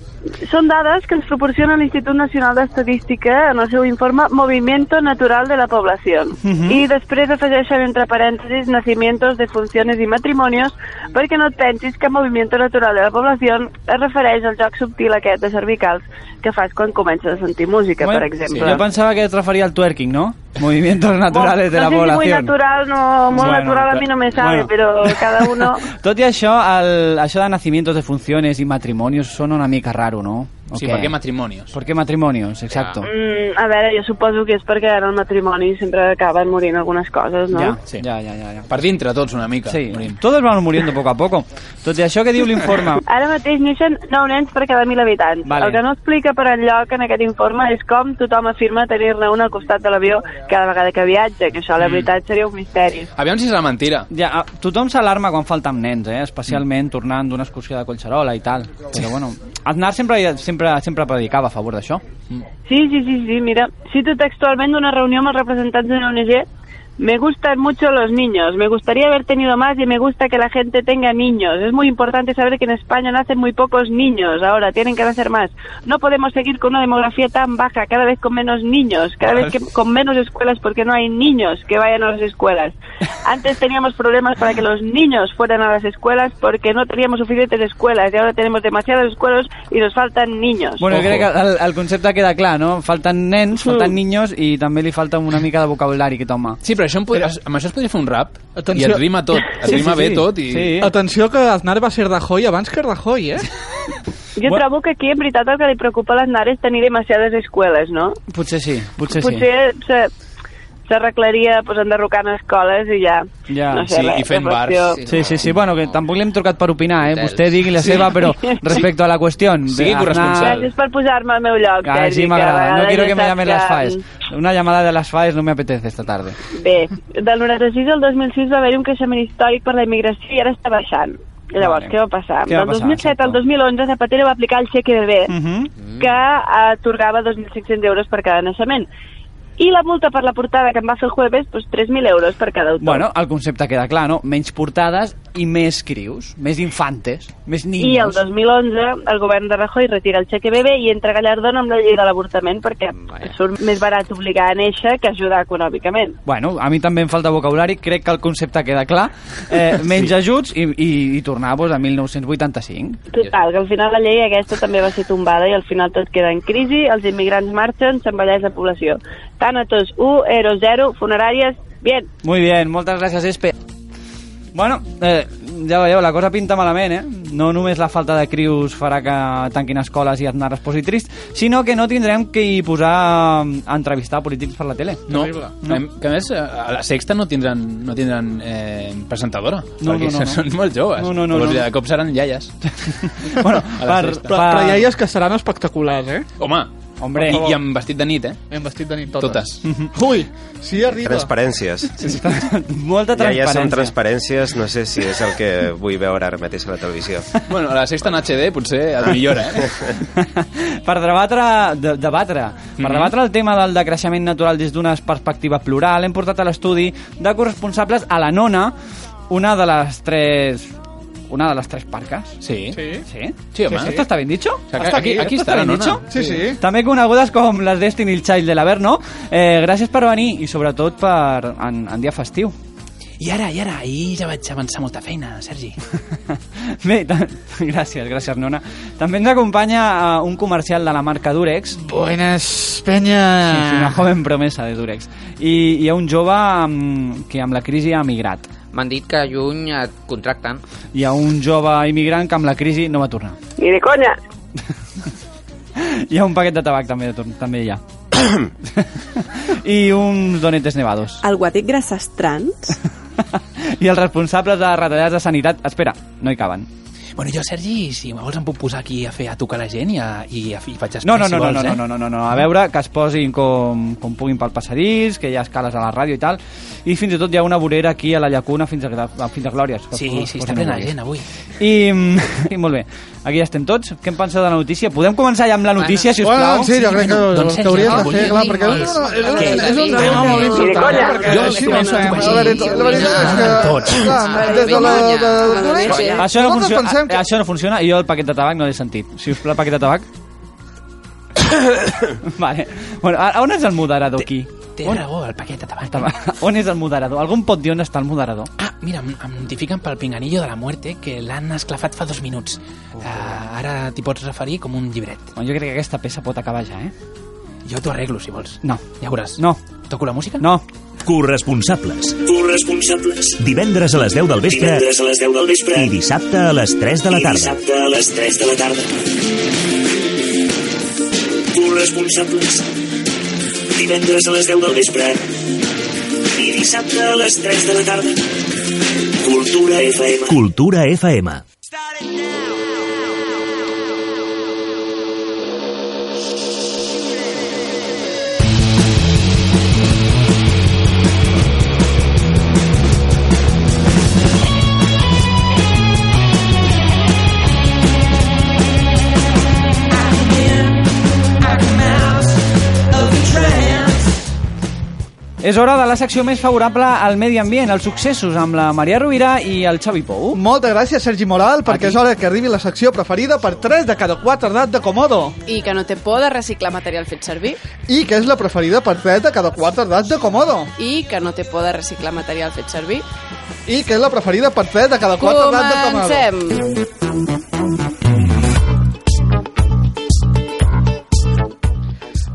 K: Són dades que ens proporciona l'Institut Nacional d'Estadística en el seu informe Movimiento Natural de la Población.
D: Mhm.
K: I després afegeixen entre parèntesis nacimientos, defunciones i matrimonios perquè no et pensis que Movimiento Natural de la Población es refereix al joc subtil aquest de cervicals que fas quan comences a sentir música,
D: Bueno,
K: per
D: sí,
K: exemple.
D: jo pensava que es referia al twerking,
B: [laughs]
D: no? Movimientos naturales de la
K: no sé si muy
D: población.
K: natural, no, muy
D: Bueno,
K: natural a mí no me sabe,
D: bueno.
K: pero cada
D: [laughs]
K: uno...
D: Tot i això, el, això de nacimientos, de funciones i matrimonios sona una mica raro, no?
B: Sí,
D: ¿por
B: per
D: qué
B: què matrimonios?
D: ¿Por qué matrimonios? Exacto.
K: Mm, a veure, jo suposo que és perquè en el matrimoni sempre acaben morint algunes coses, no?
D: Ya,
B: Sí.
D: ya, ya, ya, ya.
B: Per dintre tots una mica.
D: Sí,
B: morim.
D: todos van muriendo poco a poco. Tot i això que diu l'informe...
K: [laughs] Ara mateix neixen 9 nens per cada 1.000 habitants.
D: Vale.
K: El que no explica per enlloc en aquest informe és com tothom afirma tenir-ne un al costat de l'avió cada vegada que viatja, que
D: Mm.
K: això la veritat seria un misteri.
B: [laughs] Aviam si és la mentira.
D: Ja, a- tothom s'alarma quan falten nens, eh? especialment tornant d'una excursió de Collserola i tal. Però bueno, Aznar sempre, sempre, sempre predicava a favor d'això.
K: Sí, sí, sí, sí, mira, cito textualment d'una reunió amb els representants d'una ONG. Me gustan mucho los niños, me gustaría haber tenido más y me gusta que la gente tenga niños. Es muy importante saber que en España nacen muy pocos niños, ahora tienen que nacer más. No podemos seguir con una demografía tan baja, cada vez con menos niños, cada vez que, con menos escuelas porque no hay niños que vayan a las escuelas. Antes teníamos problemas para que los niños fueran a las escuelas porque no teníamos suficientes escuelas y ahora tenemos demasiadas escuelas y nos faltan niños.
D: Bueno,
B: Ojo.
D: crec que el, el concepte queda clar, no? Falten nens, falten niños i també li falta una mica de vocabulari que toma.
B: Sí, però això em podria, amb això es podria fer un rap
G: Atenció.
B: i et rima tot, et
D: Sí,
B: rima
D: sí,
B: bé
D: sí.
B: tot i... Ah.
D: Sí.
G: Atenció que Aznar va ser Rajoy abans que Rajoy, eh?
K: Jo
D: Bueno.
K: trobo que aquí, en veritat, el que li preocupa a l'Aznar és tenir demasiades escoles, no?
D: Potser sí, potser, sí.
K: Potser se- s'arreglaria pues, enderrocant escoles i ja...
D: Ja,
K: no sé,
B: sí,
K: la
B: i fent bars.
K: reflexió.
D: Sí,
E: Sí.
D: sí, sí, bueno, que tampoc li hem trucat per opinar, eh?
E: Hotels.
D: Vostè digui la seva, però respecte a la qüestió...
B: Sigui
D: Aznar-
B: corresponsal.
K: Gràcies per posar-me al meu lloc,
D: Que així
K: Sergi, a
D: m'agrada, no
K: vegades
D: quiero
K: ja
D: que me
K: saps
D: llamen
K: que-
D: las FAES. Una llamada de las FAES no me apetece esta tarde.
K: Bé, del 96 al 2006 va haver-hi un creixement històric per la immigració i ara està baixant. Llavors,
D: Vale.
K: què va passar?
D: Què va
K: del
D: passar,
K: 2007 al
D: exacte?
K: 2011 Zapatero va aplicar el xeque bebé,
D: Uh -huh.
K: que atorgava 2.500 euros per cada naixement. I la multa per la portada que em va fer el jueves, doncs 3.000 euros per cada autor.
D: Bueno, el concepte queda clar, no? Menys portades i més crius, més infantes, més niños.
K: I el 2011 el govern de Rajoy retira el xeque bebé i entra Gallardón amb la llei de l'avortament perquè
E: Vaja.
K: surt més barat obligar a néixer que ajudar econòmicament.
D: Bueno, a mi també em falta vocabulari, crec que el concepte queda clar. Eh, menys ajuts i, i, i tornar doncs, pues, a 1985.
K: Total, que al final la llei aquesta també va ser tombada i al final tot queda en crisi, els immigrants marxen, s'envelleix la població. Tànatos 1, Eero 0, funeràries, bien.
D: Muy bien, moltes gràcies, Espe. Bueno, eh, ja veieu, la cosa pinta malament, eh? no només la falta de crius farà que tanquin escoles i Aznar es posi trist, sinó que no tindrem que hi posar a entrevistar polítics per la tele.
B: No,
D: no.
B: no. que a més eh, a la sexta no tindran, no tindran eh, presentadora,
D: No, no,
B: perquè
D: no, no.
B: [laughs] són molt joves.
D: No, no, no,
B: Però
D: no.
B: de cop seran iaies.
D: [laughs] bueno,
B: [laughs] A la
D: per,
B: sexta.
D: per,
G: Però, però ja hi ha que seran espectaculars, eh?
B: Home,
D: Hombre,
B: i, i amb vestit de nit, eh?
G: Hem vestit de nit
B: Totes.
D: [laughs]
G: totes. Ui, si arriba.
H: Transparències.
D: molta
H: Ja, ja són
D: transparència.
H: transparències, no sé si és el que vull veure ara mateix a la televisió.
B: Bueno, a la sexta en HD potser et millora,
D: [laughs]
B: eh?
D: per debatre, de, debatre, per
B: Mhm.
D: debatre el tema del decreixement natural des d'una perspectiva plural, hem portat a l'estudi de corresponsables a la nona, una de les tres una de les tres parques.
B: Sí. Sí,
G: Sí.
D: Sí?
B: sí home.
D: Esto está bien dicho?
B: O sea, que aquí, aquí
D: Esto
B: està la
D: bien
B: nona.
D: dicho?
G: Sí, sí.
D: També conegudes com les Destiny Child de l'Averno. Eh, gràcies per venir i sobretot per en, en dia festiu.
B: I ara, i ara, ahir ja vaig avançar molta
D: [laughs]
B: feina, Sergi.
D: Bé, ta- gràcies, gràcies, nona. També ens acompanya eh, un comercial de la marca Durex,
G: Buenas,
D: Sí, sí, una
G: penya.
D: joven promesa de Durex. I hi ha un jove amb, que amb la crisi ha emigrat.
I: M'han dit que a juny et contracten.
D: Hi ha un jove immigrant que amb la crisi no va tornar.
E: Ni de conya.
D: Hi ha un paquet de tabac també, de torn- també [coughs] hi ha. I uns donetes nevados.
L: El guatit grasses trans
D: I els responsables de les retallades de sanitat... Espera, no hi caben.
B: Bueno, jo, Sergi, si vols em puc posar aquí a fer a tocar la gent i, a, i, a, i faig espai,
D: No, no,
B: si
D: no, no, no,
B: vols, eh?
D: no, no, no, no, no, a veure, que es posin com, com puguin pel passadís, que hi ha escales a la ràdio i tal, i fins i tot hi ha una vorera aquí a la llacuna fins a, fins a Glòries. que
B: Sí,
D: es posin-
B: sí,
D: es
B: està
D: posin
B: plena de
D: guais.
B: gent avui.
D: I, [laughs] mm, I molt bé, aquí ja estem tots. Què en penseu de la notícia? Podem començar ja amb la notícia, si us
G: Bueno,
D: plau?
G: en sèrio, crec que,
B: Doncs,
G: doncs, que hauries de fer, clar, perquè és, una- és, un-
B: Doncs,
G: és un tema molt important, eh, perquè
B: Jo crec
G: així no
B: que
G: ho sabem.
B: no
G: La veritat, la veritat és que,
B: tots.
G: clar, des de la... De, de, de,
D: Això no,
G: nosaltres
D: funciona,
G: pensem
D: eh,
G: que...
D: això no funciona i jo el paquet de tabac no l'he sentit. Si us plau, el paquet de
G: [coughs]
D: tabac. vale. Bueno, a- on és el moderador aquí?
B: Té raó, el paquet de tabac.
D: On és el moderador? Algun pot dir on està el moderador?
B: Ah, mira, em, em notifiquen pel pinganillo de la muerte que l'han esclafat fa dos minuts. Uh, ara t'hi pots referir com un llibret.
D: Bueno, jo crec que aquesta peça pot acabar ja, eh?
B: Jo t'ho arreglo, si vols.
D: No.
B: Ja veuràs.
D: No.
B: Toco la música?
D: No.
A: Corresponsables.
K: Corresponsables.
A: Divendres a les 10 del vespre
K: Divendres a les 10 del vespre.
A: i dissabte a les 3 de la
K: I
A: tarda.
K: dissabte a les 3 de la tarda. Corresponsables. Divendres a les 10 del vespre. I dissabte a les 3 de la tarda. Cultura FM.
A: Cultura FM.
D: És hora de la secció més favorable al medi ambient, als successos, amb la Maria Rovira i el Xavi Pou.
G: Moltes gràcies, Sergi Moral, perquè [laughs] és hora que arribi la secció preferida per 3 de cada 4 edat de Comodo.
F: I que no té por de reciclar material fet servir
G: I que és la preferida per 3 de cada 4 edat de Comodo.
F: i que no té por de reciclar material fet servir.
G: I que és la preferida per 3 de cada 4 edat de Comodo.
F: Comencem!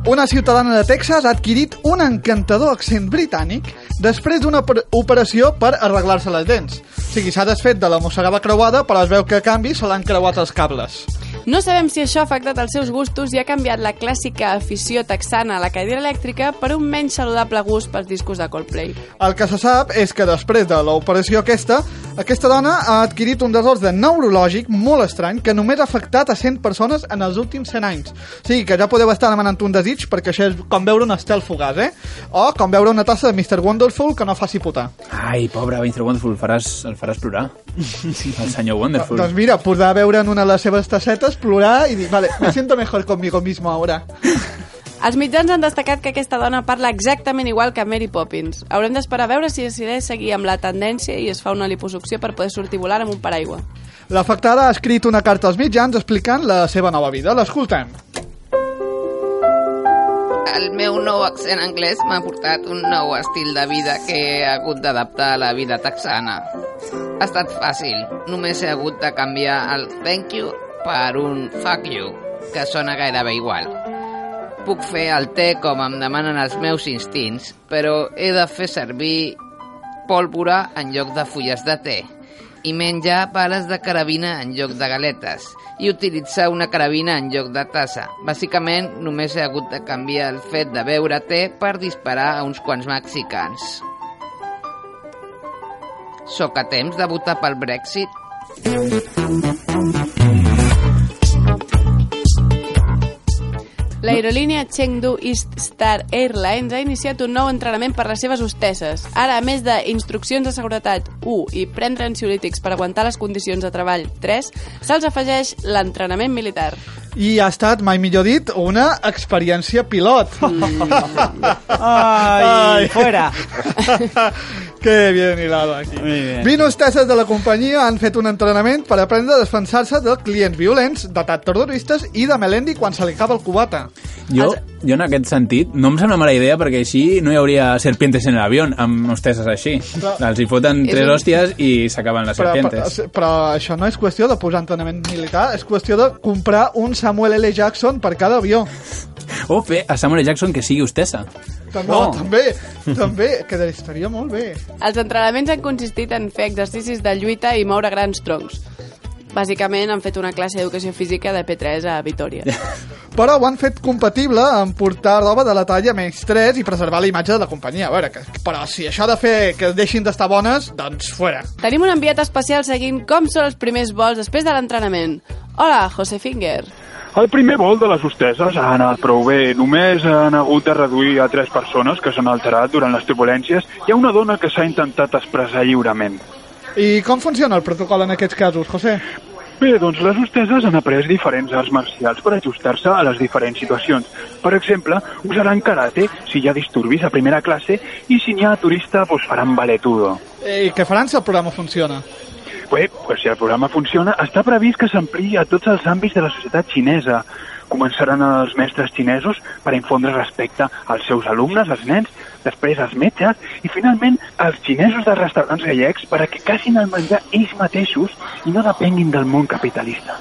G: Una ciutadana de Texas ha adquirit un encantador accent britànic després d'una per- operació per arreglar-se les dents. O sigui, s'ha desfet de la mossegada creuada, però es veu que a canvi se l'han creuat els cables.
F: No sabem si això ha afectat els seus gustos i ha canviat la clàssica afició texana a la cadira elèctrica per un menys saludable gust pels discos de Coldplay.
G: El que se sap és que després de l'operació aquesta, aquesta dona ha adquirit un desordre neurològic molt estrany que només ha afectat a 100 persones en els últims 100 anys. O sigui, que ja podeu estar demanant un desig perquè això és com veure un estel fugaz, eh? O com veure una tassa de Mr. Wonderful que no faci putar.
B: Ai, pobre Mr. Wonderful, el faràs, el faràs plorar. El senyor Wonderful.
G: Doncs mira, podrà veure en una de les seves tassetes, plorar i dir, vale, me siento mejor conmigo mismo ahora.
F: Els mitjans han destacat que aquesta dona parla exactament igual que Mary Poppins. Haurem d'esperar a veure si decideix seguir amb la tendència i es fa una liposucció per poder sortir volant amb un paraigua.
G: L'afectada ha escrit una carta als mitjans explicant la seva nova vida. L'escoltem.
I: El meu nou accent anglès m'ha portat un nou estil de vida que he hagut d'adaptar a la vida texana. Ha estat fàcil, només he hagut de canviar el thank you per un fuck you, que sona gairebé igual. Puc fer el té com em demanen els meus instints, però he de fer servir pólvora en lloc de fulles de té. i menjar pales de carabina en lloc de galetes i utilitzar una carabina en lloc de tassa. Bàsicament, només he hagut de canviar el fet de beure té per disparar a uns quants mexicans. Sóc a temps de votar pel Brexit?
F: L'aerolínia Chengdu East Star Airlines ha iniciat un nou entrenament per les seves hostesses. Ara, a més d'instruccions de seguretat 1 i prendre ansiolítics per aguantar les condicions de treball 3, se'ls afegeix l'entrenament militar.
G: I ha estat, mai millor dit, una experiència pilot.
D: Mm.
G: [laughs]
D: Ai, fuera.
G: que bien hilado aquí. Vint hosteses de la companyia han fet un entrenament per aprendre a defensar-se de clients violents, d'atacs terroristes i de Melendi quan se li acaba el cubata.
B: Jo, jo en aquest sentit, no em sembla mala idea perquè així no hi hauria serpientes en l'avió amb hosteses així. Els hi foten tres hòsties i s'acaben les
G: Però, però,
B: serpientes.
G: però això no és qüestió de posar entrenament militar, és qüestió de comprar un Samuel L. Jackson per cada avió.
B: O fer a Samuel L. Jackson que sigui hostessa.
G: També,
B: Oh.
G: oh. també, també, quedaria molt bé.
F: Els entrenaments han consistit en fer exercicis de lluita i moure grans troncs. Bàsicament han fet una classe d'educació física de P3 a Vitoria.
G: Però ho han fet compatible amb portar roba de la talla més 3 i preservar la imatge de la companyia. A veure, que, però si això ha de fer que deixin d'estar bones, doncs fuera.
F: Tenim un enviat especial seguint com són els primers vols després de l'entrenament. Hola, José Finger.
M: El primer vol de les hosteses ha anat Ah, prou bé. Només han hagut de reduir a tres persones que s'han alterat durant les turbulències i a una dona que s'ha intentat expressar lliurement.
G: I com funciona el protocol en aquests casos, José?
M: Bé, doncs les hosteses han après diferents arts marcials per ajustar-se a les diferents situacions. Per exemple, usaran karate si hi ha disturbis a primera classe i si n'hi ha turista, doncs faran baletudo.
G: I què faran si el programa funciona?
M: Bé, pues si el programa funciona, està previst que s'ampliï a tots els àmbits de la societat xinesa. Començaran els mestres xinesos per infondre respecte als seus alumnes, els nens, després als metges i, finalment, als xinesos dels restaurants gallecs per a que casin el menjar ells mateixos i no depenguin del món capitalista.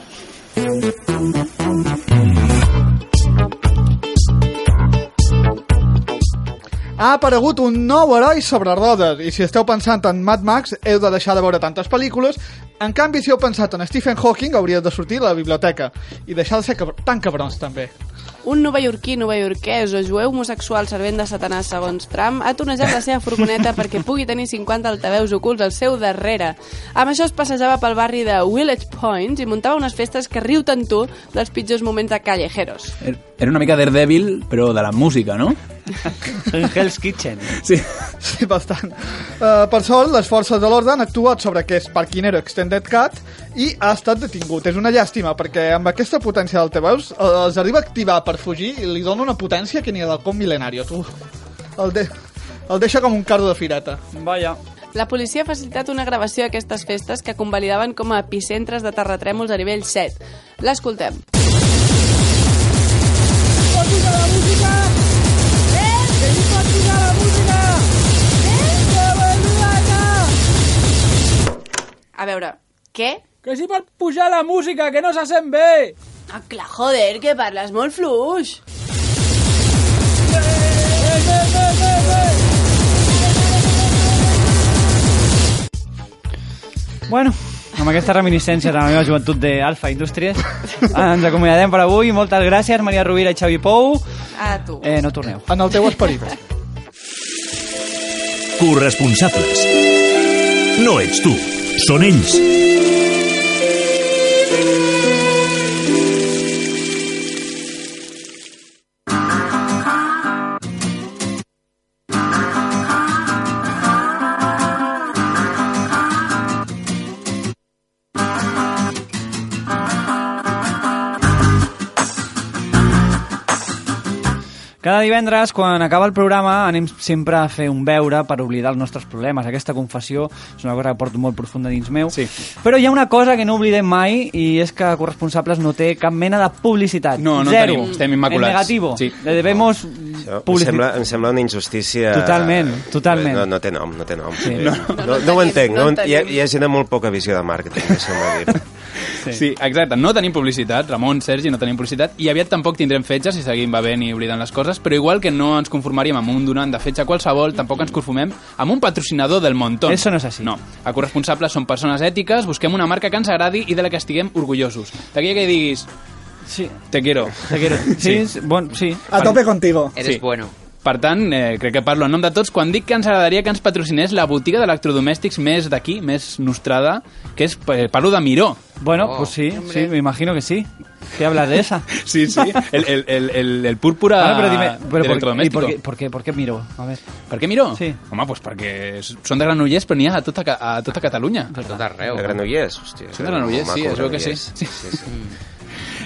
G: Ha aparegut un nou heroi sobre rodes, i si esteu pensant en Mad Max, heu de deixar de veure tantes pel·lícules. En canvi, si heu pensat en Stephen Hawking, hauríeu de sortir de la biblioteca. I deixar de ser cabr tan cabrons, també.
F: Un novaiorquí, novaiorquès o jueu homosexual servent de Satanàs segons Trump ha tonejat la seva furgoneta perquè pugui tenir 50 altaveus ocults al seu darrere. Amb això es passejava pel barri de Village Points i muntava unes festes que riu tant tu dels pitjors moments de callejeros.
B: Er- Era una mica Daredevil, però de la música, no?
D: [laughs] En Hell's Kitchen.
B: Sí.
G: Sí, bastant. Uh, per sort, les forces de l'ordre han actuat sobre aquest parquinero Extended Cat i ha estat detingut. És una llàstima, perquè amb aquesta potència d'altaveus eh, els arriba a activar per fugir i li dona una potència que ni del com mil·lenario, tu. El, de el deixa com un carro de fireta.
D: Vaja.
F: La policia ha facilitat una gravació d'aquestes festes que convalidaven com a epicentres de terratrèmols a nivell 7. L'escoltem. A veure, què?
N: Que si pot pujar la música, que no se sent bé!
F: Ah, clar, joder, que parles molt fluix.
D: Bueno, amb aquestes reminiscències de la meva joventut d'Alfa
G: [laughs]
D: Indústries, ens acomiadem per avui. Moltes gràcies, Maria Rovira i Xavi Pou.
F: A tu.
D: Eh, no torneu.
G: En el teu esperit.
A: Corresponsables. No ets tu, són ells.
D: Cada divendres, quan acaba el programa, anem sempre a fer un beure per oblidar els nostres problemes. Aquesta confessió és una cosa que porto molt profunda dins meu. Sí. Però hi ha una cosa que no oblidem mai, i és que Corresponsables no té cap mena de publicitat.
B: No, no
D: Zero.
B: tenim, estem immaculats.
D: En negativo. Eh,
B: Sí.
D: Le debemos
H: Em
D: publicitat.
H: sembla, em sembla una injustícia...
D: Totalment, totalment.
H: No, no té nom, no té nom.
D: Sí.
H: No, no, no, no ho entenc. No, hi, ha, hi ha gent amb molt poca visió de màrqueting, deixeu-me dir.
B: Sí. sí, exacte. No tenim publicitat, Ramon, Sergi, no tenim publicitat, i aviat tampoc tindrem fetge si seguim bevent i oblidant les coses, però igual que no ens conformaríem amb un donant de fetge qualsevol, tampoc ens conformem amb un patrocinador del montón.
D: Eso no és així.
B: No. A corresponsables som persones ètiques, busquem una marca que ens agradi i de la que estiguem orgullosos. D'aquella que diguis...
D: Sí.
B: Te quiero.
D: Te quiero. Sí, sí. Bon, sí.
G: A tope contigo.
B: Eres sí. bueno. Per tant, eh, crec que parlo en nom de tots quan dic que ens agradaria que ens patrocinés la botiga d'electrodomèstics més d'aquí, més nostrada, que és, eh, parlo de Miró.
D: Bueno,
B: Oh,
D: pues sí, sí, me imagino que sí. ¿Qué hablas de
B: [laughs]
D: esa?
B: Sí,
D: [laughs]
B: sí, el, el, el, el, el púrpura
D: Vale, pero dime, pero por-
B: electrodoméstico.
D: ¿y por qué- por qué, por qué miro? A ver.
B: Per què Miró?
D: Sí.
B: Home, doncs perquè són de Granollers, però n'hi ha a tota, Ca- a tota Catalunya. A
E: tot arreu.
H: De Granollers, hòstia.
B: Són de Granollers,
H: Maco,
B: sí, es veu que sí.
H: Granollers. sí, sí.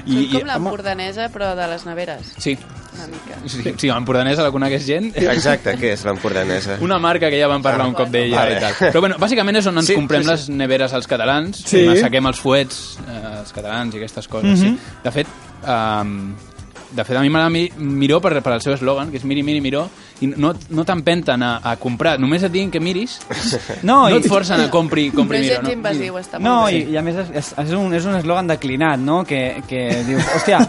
B: I, i,
F: Com la pordanesa, però de les neveres.
B: sí,
F: Una mica.
B: sí, sí, l'empordanesa la coneix gent.
H: Exacte, què és l'empordanesa?
B: Una marca que ja vam parlar un cop d'ella
H: Vale.
B: i tal. Però bueno, bàsicament és on ens
H: Sí,
B: comprem
H: sí, sí.
B: les neveres als catalans,
H: Sí.
B: on assequem els fuets eh, als catalans i aquestes coses.
H: Mhm.
B: sí. De fet, um, de fet, a mi m'agrada Mi- Miró per, per el seu eslògan, que és miri, miri, miró, i no, no t'empenten a, a comprar, només et diguin que
H: [laughs]
B: miris,
D: No,
B: no,
D: i-
B: et forcen a compri, compri
F: Però és
B: miró. No?
F: invasiu, està molt
D: No,
F: bé.
D: i, i a més és, és, és un, és un eslògan declinat, no? Que, que diu, hòstia,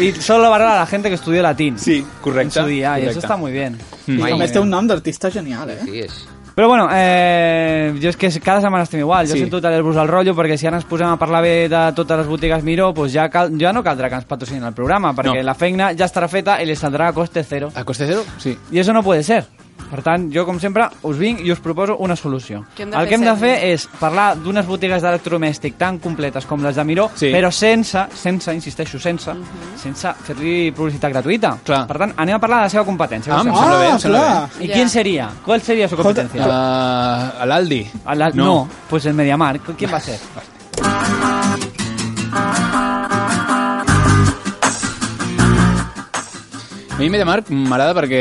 D: i solo valora la gente que estudia latín.
B: Sí, correcte.
D: En su día, Ah, i
B: correcte.
D: això està molt bé.
G: Mm. I a més té un nom d'artista genial, eh?
E: Sí, és.
D: Però bueno, eh, jo és que cada setmana estem igual, jo
G: Sí.
D: sí. sento tallar-vos el rotllo perquè si ara ens posem a parlar bé de totes les botigues Miró, doncs ja, cal, ja no caldrà que ens patrocinin el programa, perquè
B: No.
D: no. la feina ja estarà feta i li saldrà a coste zero.
B: A coste zero? Sí.
D: I això no puede ser. Per tant, jo, com sempre, us vinc i us proposo una solució.
F: Què hem de
D: el
F: fer,
D: que hem de
F: Sergi?
D: fer és parlar d'unes botigues d'electrodomèstic tan completes com les de Miró,
B: Sí.
D: però sense, sense, insisteixo, sense,
F: Mhm.
D: sense fer-li publicitat gratuïta.
B: Clar.
D: Per tant, anem a parlar de la seva competència.
B: Ah,
D: Us
B: em
D: sembla?
B: sembla bé, em sembla clar.
D: I quin seria? Qual seria su competencia?
B: Uh, L'Aldi.
D: Al- Ah, no.
B: No.
D: pues el Mediamar. ¿Quién va a ser?
B: Ah, A mi Mediamarkt m'agrada perquè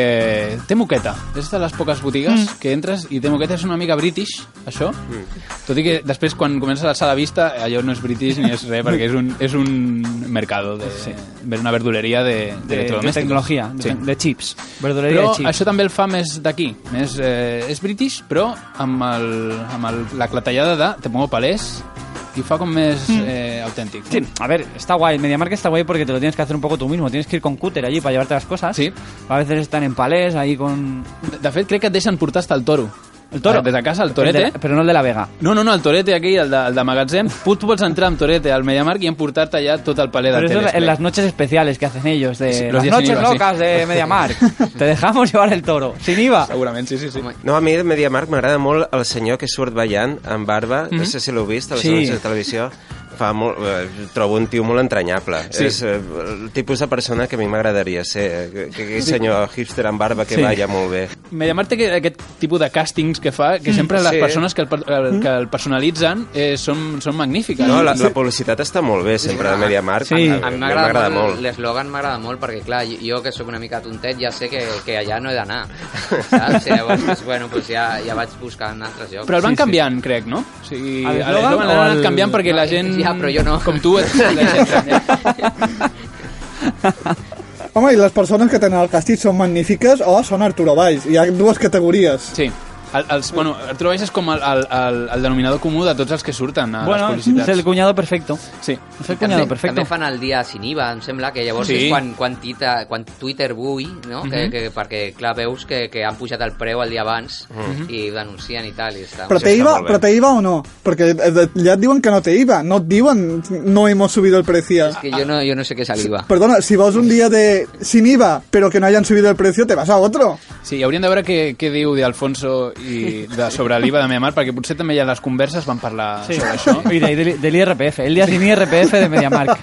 B: té moqueta. És de les poques botigues mm. que entres i té moqueta. És una mica british, això. Mm. Tot i que després, quan comences a alçar la vista, allò no és british ni és res, perquè és un, és un mercado, de, sí. una verduleria de,
D: De- de
B: electrodomèstics.
D: tecnologia, de- de chips. Verduleria
B: però
D: de chips.
B: això també el fa més d'aquí. Més, eh, és british, però amb, el, amb el, la clatellada de te pongo palés i fa com més mm. eh, autèntic.
D: Sí, a ver, está guay. El MediaMarkt está guay porque te lo tienes que hacer un poco tú mismo. Tienes que ir con cúter allí para llevarte las cosas. Sí. A veces están en palés, ahí con...
B: De fet, crec que et deixen portar hasta el toro. Ah,
D: El toro?
B: Des de casa, el
D: El
B: torete.
D: de la- però no el de la Vega.
B: No, no, no, el torete aquí, el de, el de magatzem. Pu- Tu pots entrar amb torete al Mediamarkt i emportar-te allà tot el paler de
D: Pero eso
B: teles.
D: es en las noches especiales que hacen ellos, de
B: Sí, los
D: las
B: días sin
D: noches
B: IVA, sí.
D: locas
B: [laughs]
D: de MediaMarkt. Te dejamos llevar el toro, sin IVA.
B: Segurament, sí, sí, sí.
H: No, a mi de Mediamarkt m'agrada molt el senyor que surt ballant amb barba, no
B: Mm-hmm.
H: sé si l'heu vist a les
D: Sí.
H: sí. de televisió, fa molt, eh, trobo un tio molt entranyable.
B: Sí.
H: Sí. És eh, el tipus de persona que a mi m'agradaria ser, eh, que, que aquell senyor hipster amb barba que
B: Sí.
H: sí. balla molt bé.
B: Mediamarkt té aquest tipus de càstings que fa, que sempre
H: Mm,
B: les
H: sí.
B: persones que el, per- el, que el personalitzen eh, són, són magnífiques.
H: No, la, la publicitat està molt bé sempre de Mediamarkt.
E: A,
H: A
E: a mi
H: mi m'agrada molt.
E: L'eslògan m'agrada molt, perquè clar, jo- jo que sóc una mica tontet ja sé que, que allà no he d'anar, saps? I Llavors, pues, bueno, pues ja, ja vaig buscar en altres llocs.
B: Però el van canviant, crec, no? O sigui,
E: El eslògan
B: l'eslògan l'han
E: o
B: anat
E: el-
B: canviant perquè la
E: No,
B: gent...
E: ja, però jo no.
B: Com
E: [laughs]
B: tu,
D: [laughs]
B: et, eh? la gent
G: Home, i les persones que tenen el càstig són magnífiques o són Arturo Valls. Hi ha dues categories.
B: Sí. El, els, bueno, Arturo Valls és com el, el, el, el denominador comú de tots els que surten a
D: Bueno,
B: les
D: es
B: publicitats.
D: el cuñado perfecto.
B: Sí.
D: Es el
E: També,
D: cuñado perfecto.
E: també fan el dia sin IVA, em sembla, que llavors
B: Sí.
E: sí. és quan, quan, tita, quan Twitter bui, no? que,
B: Mhm.
E: que, perquè, clar, veus que, que han pujat el preu el dia abans
G: Mhm.
E: i ho denuncien i tal. I està,
G: Però té, IVA, però té IVA o no? Perquè eh, ja et diuen que no té IVA, no et diuen no hemos subido el precio.
E: Que jo no, jo no sé què és l'IVA.
G: Perdona, si vas un día de sin IVA, pero que no hayan subido el precio, te vas a otro.
B: Sí, i hauríem de veure què, què diu d'Alfonso i de, sobre l'IVA de Mediamar, perquè potser també ja les converses van parlar
D: Sí.
B: sobre això.
D: Y de ahí del, del IRPF, el día sin IRPF de MediaMarkt.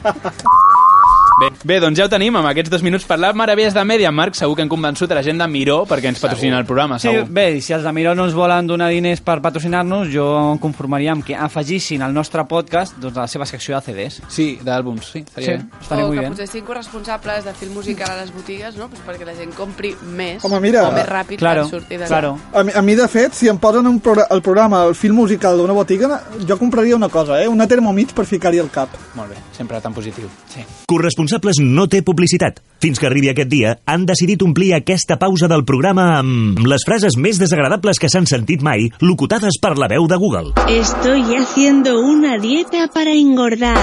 B: Bé, bé, doncs ja ho tenim, amb aquests dos minuts parlar meravelles de Mediamarkt, segur que han convençut a la gent de Miró perquè ens patrocina el programa,
D: Sí,
B: Ah, segur.
D: bé, i si els de Miró no ens volen donar diners per patrocinar-nos, jo em conformaria amb que afegissin al nostre podcast doncs, a la seva secció de CDs.
B: Sí, d'àlbums, sí.
D: Sí,
B: estaria bé.
D: estaria
F: o
D: molt
F: Oh, que
D: bé.
F: posessin corresponsables de film musical a les botigues, no? Pues perquè la gent compri més
G: Home, mira.
F: o més ràpid per sortir d'allà.
G: A mi, a mi, de fet, si em posen un pro el programa, el film musical d'una botiga, jo compraria una cosa, eh? Una Thermomix per ficar-hi al cap.
B: Molt bé, sempre tan positiu. Sí.
A: Corresponsal responsables no té publicitat. Fins que arribi aquest dia, han decidit omplir aquesta pausa del programa amb les frases més desagradables que s'han sentit mai, locutades per la veu de Google.
O: Estoy haciendo una dieta para engordar.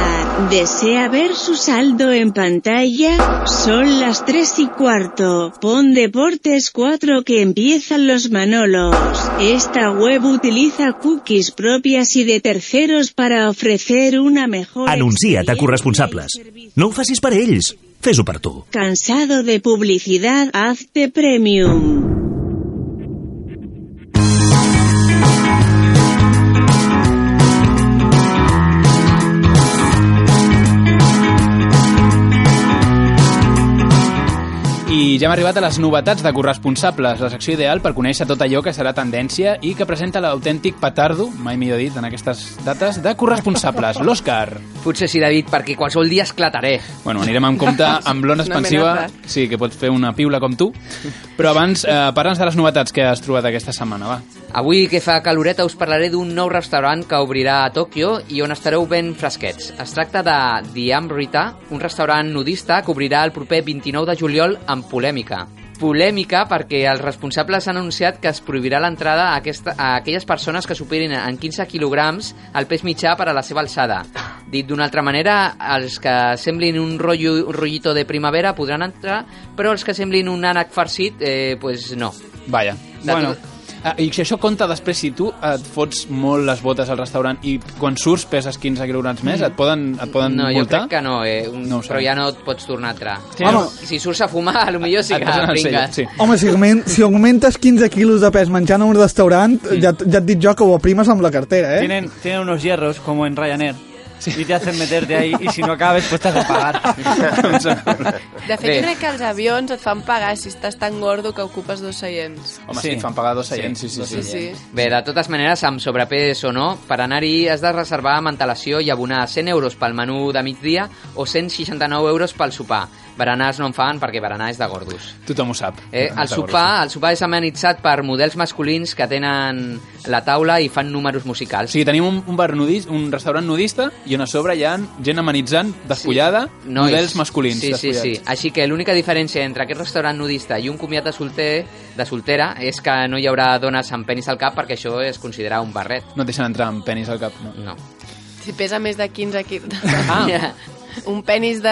O: ¿Desea ver su saldo en pantalla? Son las tres y cuarto. Pon Deportes 4 que empiezan los Manolos. Esta web utiliza cookies propias y de terceros para ofrecer una mejor...
A: Anuncia't a corresponsables. No ho facis per ells, fes-ho per tu.
O: Cansado de publicidad, hazte premium.
B: I ja hem arribat a les novetats de corresponsables, la secció ideal per conèixer tot allò que serà tendència i que presenta l'autèntic petardo, mai millor dit, en aquestes dates, de corresponsables, l'Òscar.
E: Potser sí, David, perquè qualsevol dia esclataré.
B: Bueno, anirem amb
E: [laughs]
B: compte amb l'ona
E: És una
B: expansiva,
E: amenaça.
B: sí, que pots fer una piula com tu, però abans, eh, parla'ns de les novetats que has trobat aquesta setmana, va.
E: Avui que fa caloreta us parlaré d'un nou restaurant que obrirà a Tòquio i on estareu ben fresquets. Es tracta de The Amrita, un restaurant nudista que obrirà el proper 29 de juliol amb polèmica. Polèmica perquè els responsables han anunciat que es prohibirà l'entrada a, aquesta, a aquelles persones que superin en 15 quilograms el pes mitjà per a la seva alçada. Dit d'una altra manera, els que semblin un, rotllo, un rotllito de primavera podran entrar, però els que semblin un ànec farcit, eh, pues no.
B: Vaja.
E: De
B: bueno,
E: tot-
B: Ah, I si això compta després, si tu et fots molt les botes al restaurant i quan surts peses 15 quilograms més, et poden, et poden
E: No, jo
B: multar?
E: crec que no, eh? Un,
B: No
E: no
B: ho sé.
E: però ja no et pots tornar a entrar.
B: Sí, Home.
E: Si surts a fumar, [laughs] potser Ah, sí
B: Et
E: que
B: posen el sello,
E: pringues.
B: sí.
G: Home, si, augment, si augmentes 15 quilos de pes menjant a un restaurant, ja, ja et dic jo que ho aprimes amb la cartera, eh?
D: Tienen, tienen unos hierros como en Ryanair. Y te hacen meterte ahí y si no acabes pues te hacen pagar.
B: [laughs]
F: De fet, jo crec que els avions et fan pagar si estàs tan gordo que ocupes dos seients.
B: Home, sí, fan pagar dos seients, sí, sí, sí.
F: Sí, sí.
E: Bé, de totes maneres, amb sobrepès o no, per anar-hi has de reservar amb antelació i abonar 100 euros pel menú de migdia o 169 euros pel sopar. Berenars no en fan perquè berenar és de gordos.
B: Tothom ho sap.
E: Eh, el, sopar, el sopar és amenitzat per models masculins que tenen la taula i fan números musicals.
B: O sigui, tenim un, un bar nudista, un restaurant nudista i on a sobre hi ha gent amenitzant, despullada, sí.
E: Nois.
B: models masculins.
E: Sí, sí, sí.
B: despullats.
E: Així que l'única diferència entre aquest restaurant nudista i un comiat de, solter, de soltera és que no hi haurà dones amb penis al cap perquè això es considera un barret.
B: No et deixen entrar amb penis al cap, no?
E: No.
F: Si pesa més de 15 quilos. [laughs]
E: Ah.
F: Un penis de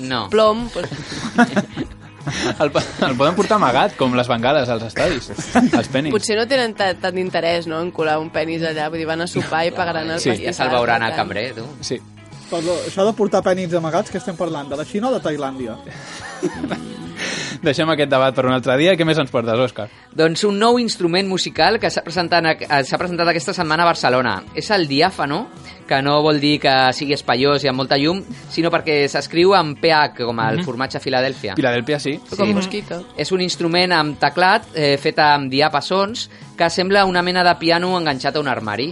E: No.
B: [laughs]
F: plom, doncs,
B: [laughs] El, po- el poden portar amagat, com les bengales als
E: [laughs]
B: estadis, els penis.
F: potser no tenen ta- tant d'interès no, en colar un penis allà. Vull dir, van a sopar i pagaran el
B: Sí.
F: pastissat,
B: Ja se'l veuran
F: per
B: al
F: tant.
E: Cambrer, tu.
B: Sí.
G: Perdó, això de portar penits amagats, que estem parlant? De la Xina o de Tailàndia?
B: Deixem aquest debat per un altre dia. Què més ens portes, Òscar?
E: Doncs un nou instrument musical que s'ha presentat, eh, s'ha presentat aquesta setmana a Barcelona. És el diàfano, que no vol dir que sigui espaiós i amb molta llum, sinó perquè s'escriu amb PH, com el
B: Mhm.
E: formatge Filadèlfia.
B: Filadèlfia, sí.
F: Com mosquito.
E: És un instrument amb teclat, eh, fet amb diapasons, que sembla una mena de piano enganxat a un
B: [laughs]
E: armari.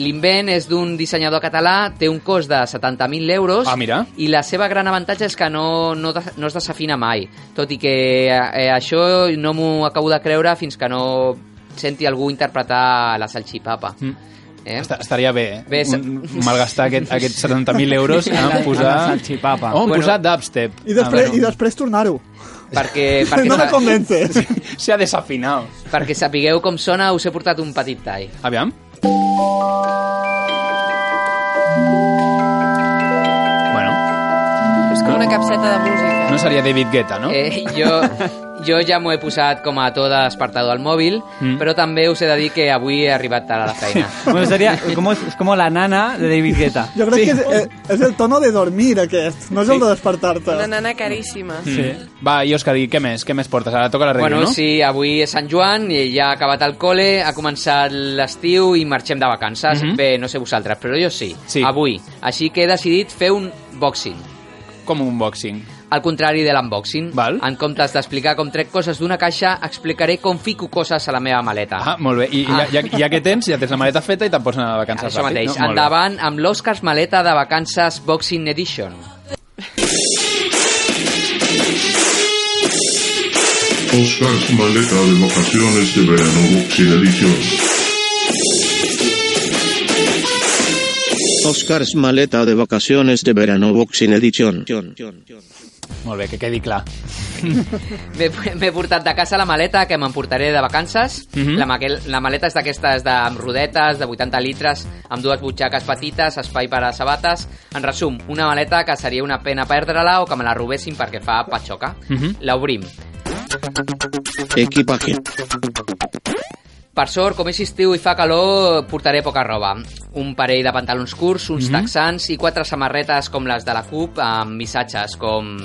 E: L'invent és d'un dissenyador català, té un cost de 70.000 euros
B: Ah, mira.
E: i la seva gran avantatge és que no, no, de- no es desafina mai, tot i que eh, això no m'ho acabo de creure fins que no senti algú interpretar la salxipapa.
B: Mm.
E: Eh?
B: Està, estaria bé, eh?
E: Bé, se-
B: un, malgastar aquest, aquests 70.000
E: [laughs]
B: euros
E: En
B: en
E: la
B: posar...
E: salchipapa.
B: Oh, en
E: Bueno.
B: posar dubstep.
G: I després,
B: Ah,
G: i després tornar-ho.
E: Perquè, Eh, perquè
G: [laughs] No me
E: sa-
G: convences.
B: [laughs] S'ha desafinat.
E: Perquè sapigueu com sona, us he portat un petit tall.
B: Aviam. Bueno,
F: És com una capseta de música.
B: no seria David Guetta, no?
E: Eh, jo, jo ja m'ho he posat com a to despertador al mòbil,
B: Mm.
E: mm. però també us he de dir que avui he arribat tard a
B: [laughs]
E: la feina.
D: Bueno, sería como, es como la nana de David Guetta.
G: Jo crec sí. que és, eh, és el tono de dormir, aquest. No és sí. el de despertar-te.
F: Una nana caríssima.
B: Mm. Va, i Òscar, i què més? Què més portes? Ara toca la ràdio,
E: bueno,
B: no?
E: sí, avui és Sant Joan, i ja ha acabat el cole, ha començat l'estiu i marxem de vacances.
B: Mhm.
E: Bé, no sé vosaltres, però jo sí,
B: Sí.
E: avui. Així que he decidit fer un boxing.
B: Com un boxing.
E: Al contrari de l'unboxing. En comptes d'explicar com trec coses d'una caixa, explicaré com fico coses a la meva maleta.
B: Ah, molt bé. I, i ja, ja, ja que tens, ja tens la maleta feta i te'n pots anar de vacances
E: Això
B: ràpid,
E: mateix,
B: no? Molt bé.
E: endavant amb l'Oscars Maleta de Vacances Boxing Edition.
P: Oscars Maleta de Vacaciones de este Verano Boxing Edition.
I: Oscars Maleta de Vacaciones de Verano Boxing Edition.
B: Molt bé, que quedi clar.
E: M'he m'he portat de casa la maleta que m'emportaré de vacances.
B: Mhm.
E: la, maquel, la maleta és d'aquestes de, amb rodetes, de 80 litres, amb dues butxaques petites, espai per a sabates... En resum, una maleta que seria una pena perdre-la o que me la robessin perquè fa patxoca.
I: Mhm.
E: L'obrim.
I: Equipaje.
E: Per sort, com és estiu i fa calor, portaré poca roba. Un parell de pantalons curts, uns
I: Mhm.
E: texans i quatre samarretes com les de la CUP amb missatges com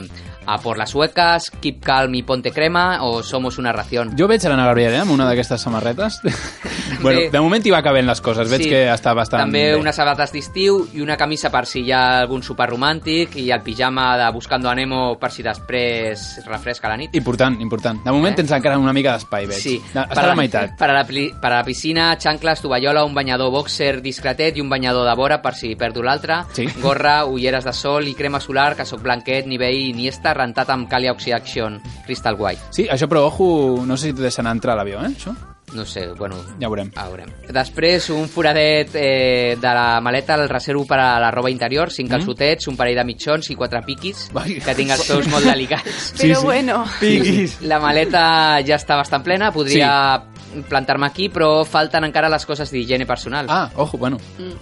E: a por las suecas, keep calm i ponte crema o somos una ración.
B: Jo veig l'Anna Gabriel, eh, amb una d'aquestes samarretes. [laughs] bueno, de moment hi va cabent les coses, veig
E: Sí.
B: que està bastant
E: També
B: bé.
E: unes sabates d'estiu i una camisa per si hi ha algun sopar romàntic i el pijama de Buscando a Nemo per si després refresca la nit.
B: Important, important. De moment
E: Eh?
B: tens encara una mica d'espai, veig.
E: Sí,
B: Està a la meitat.
E: Per a la, pli- per a la piscina, xancles, tovallola, un banyador boxer discretet i un banyador de vora per si perdo l'altre,
B: Sí.
E: gorra, ulleres de sol i crema solar, que soc blanquet, nivell Iniesta, rentat amb Cali Oxygen, Crystal White.
B: Sí, això, però ojo, no sé si et deixen entrar a l'avió, eh, això?
E: No sé, bueno...
B: Ja ho veurem.
E: A veurem. Després, un foradet eh, de la maleta el reservo per a la roba interior, cinc calçotets, un parell de mitjons i quatre piquis, que tinc els peus molt delicats.
F: Però Sí, sí. bueno. Piquis.
E: La maleta ja està bastant plena, podria plantar-me aquí, però falten encara les coses d'higiene personal.
B: Ah, ojo, bueno.
F: Mm.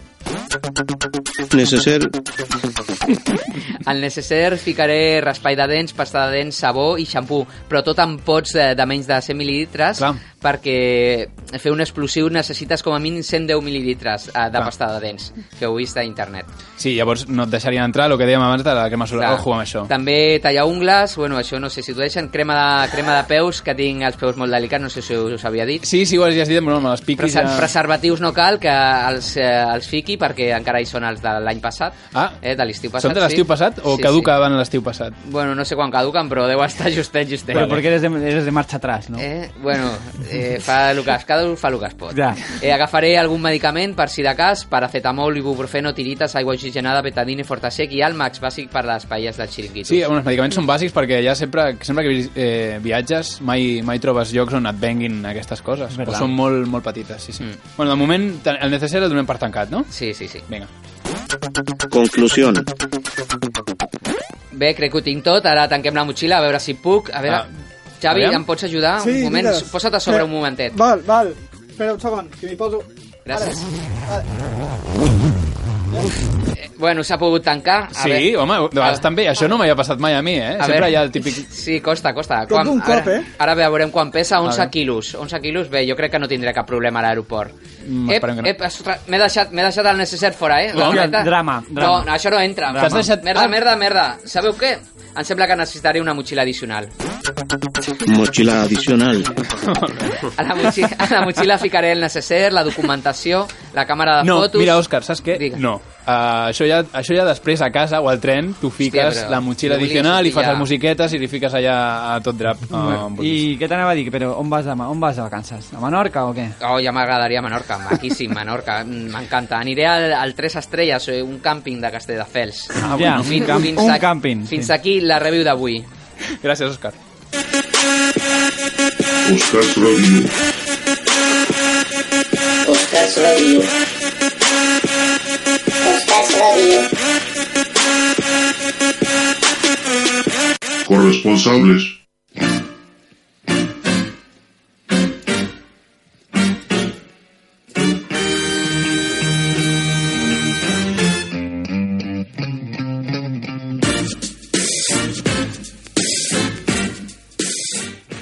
I: Neceser.
E: Al necessaire ficaré raspall de dents, pasta de dents, sabó i xampú, però tot en pots de, de menys de 100 mil·lilitres perquè fer un explosiu necessites com a mínim 110 mil·lilitres eh, de pasta de dents, que ho he vist a internet.
B: Sí, llavors no et deixarien entrar, el que dèiem abans de la crema solar.
E: Clar.
B: Ojo amb això.
E: També tallar ungles, bueno, això no sé si t'ho deixen, crema de, crema de peus, que tinc els peus molt delicats, no sé si us havia dit.
B: Sí, sí, ho has dit, però no, me les piquis...
E: Preser
B: ja-
E: Preservatius no cal que els, eh, els fiqui perquè encara hi són els de l'any passat,
B: Ah.
E: eh, de l'estiu passat.
B: Són de l'estiu
E: sí.
B: passat o
E: Sí,
B: caduca sí. abans l'estiu passat?
E: Sí. Bueno, no sé quan caduquen, però deu estar justet, justet.
D: Pero porque eres de, eres de marcha atrás, ¿no?
E: Eh, bueno, eh, fa el que es, cada un fa el que es pot.
D: Ja.
E: Eh, agafaré algun medicament per si de cas, paracetamol, ibuprofeno, tirites, aigua oxigenada, betadine, fortasec i Almax, bàsic per a les paelles del xiringuito.
B: Sí, bueno, els medicaments són bàsics perquè ja sempre, sempre que vi- eh, viatges mai, mai trobes llocs on et venguin aquestes coses.
E: Verdad.
B: O són molt, molt petites, sí, sí. Mm. Bueno, de moment te- el necessari el donem per tancat, no?
E: Sí, sí, sí.
B: Vinga.
I: Conclusión.
E: Bé, crec que ho tinc tot, ara tanquem la motxilla, a veure si puc. A veure,
G: Ah.
E: Xavi,
G: Aviam.
E: em pots ajudar
G: Sí,
E: un moment?
G: digues.
E: Posa't a sobre
G: Espera.
E: un momentet.
G: Val, val. Espera un segon, que m'hi poso...
E: Gràcies.
G: Ara.
E: Eh, Bueno, s'ha pogut tancar. A
B: Sí,
E: veure-
B: home, de vegades també. Això no m'havia passat mai a mi, eh?
E: A
B: Sempre
E: veure.
B: hi ha el típic...
E: [laughs] Sí, costa, costa.
B: Tot d'un
E: ara,
B: cop, eh?
E: Ara veurem quan pesa,
B: A
E: 11
B: veure.
E: quilos. 11 quilos, bé, jo crec que no tindré cap problema a l'aeroport.
B: Mm,
E: Ep,
B: esperem que no.
E: ep, ostres, m'he deixat, m'he deixat el necessari fora, eh?
B: Hòstia,
E: maleta.
B: drama,
E: No,
B: drama.
E: no, això no entra.
B: Drama. T'has deixat-
E: Merda,
B: Ah.
E: merda, merda. Sabeu què? Em sembla que necessitaré una motxilla addicional.
I: Mochila adicional.
E: A la motxilla, a [laughs] la motxilla ficaré el necessari, la documentació, la càmera de
B: No,
E: Eh, fotos...
B: mira, Òscar, saps què?
E: Digues.
B: No. Uh, això, ja, això ja després a casa o al tren tu fiques
D: però
B: la motxilla
D: jo volia
B: addicional i
D: sortir
B: fas
D: ja.
B: les musiquetes i li fiques allà a tot drap. Uh,
D: I què t'anava a dir? Però on vas, demà? on vas de vacances? A Menorca o què?
E: Oh, ja m'agradaria Menorca, maquíssim, Menorca, mm, m'encanta. Aniré al, al Tres Estrelles, eh, un càmping de Castelldefels.
D: Ah, bueno, un camp- un càmping,
E: Fins
D: sí.
E: aquí la review d'avui.
B: Gràcies, Òscar.
P: Oscar Radio.
J: Oscars Radio. Oscars Radio.
P: Corresponsables.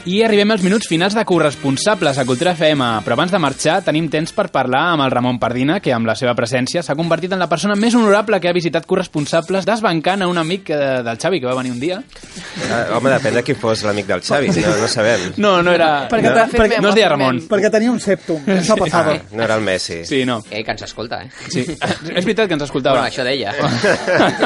B: I arribem als minuts finals de corresponsables a Cultura FM, però abans de marxar tenim temps per parlar amb el Ramon Pardina, que amb la seva presència s'ha convertit en la persona més honorable que ha visitat corresponsables, desbancant a un amic eh, del Xavi que va venir un dia.
H: Uh, home, depèn de qui fos l'amic del Xavi, no, no sabem.
B: No, no era...
G: Perquè
B: no,
G: t'ha- perquè-
B: no es deia Ramon.
G: Perquè tenia un septum, [laughs] això passava.
H: No era el Messi.
B: Sí, no.
E: Eh, que ens escolta, eh?
B: Sí. És veritat que ens escoltava.
E: Bueno, això
B: [laughs]
E: deia.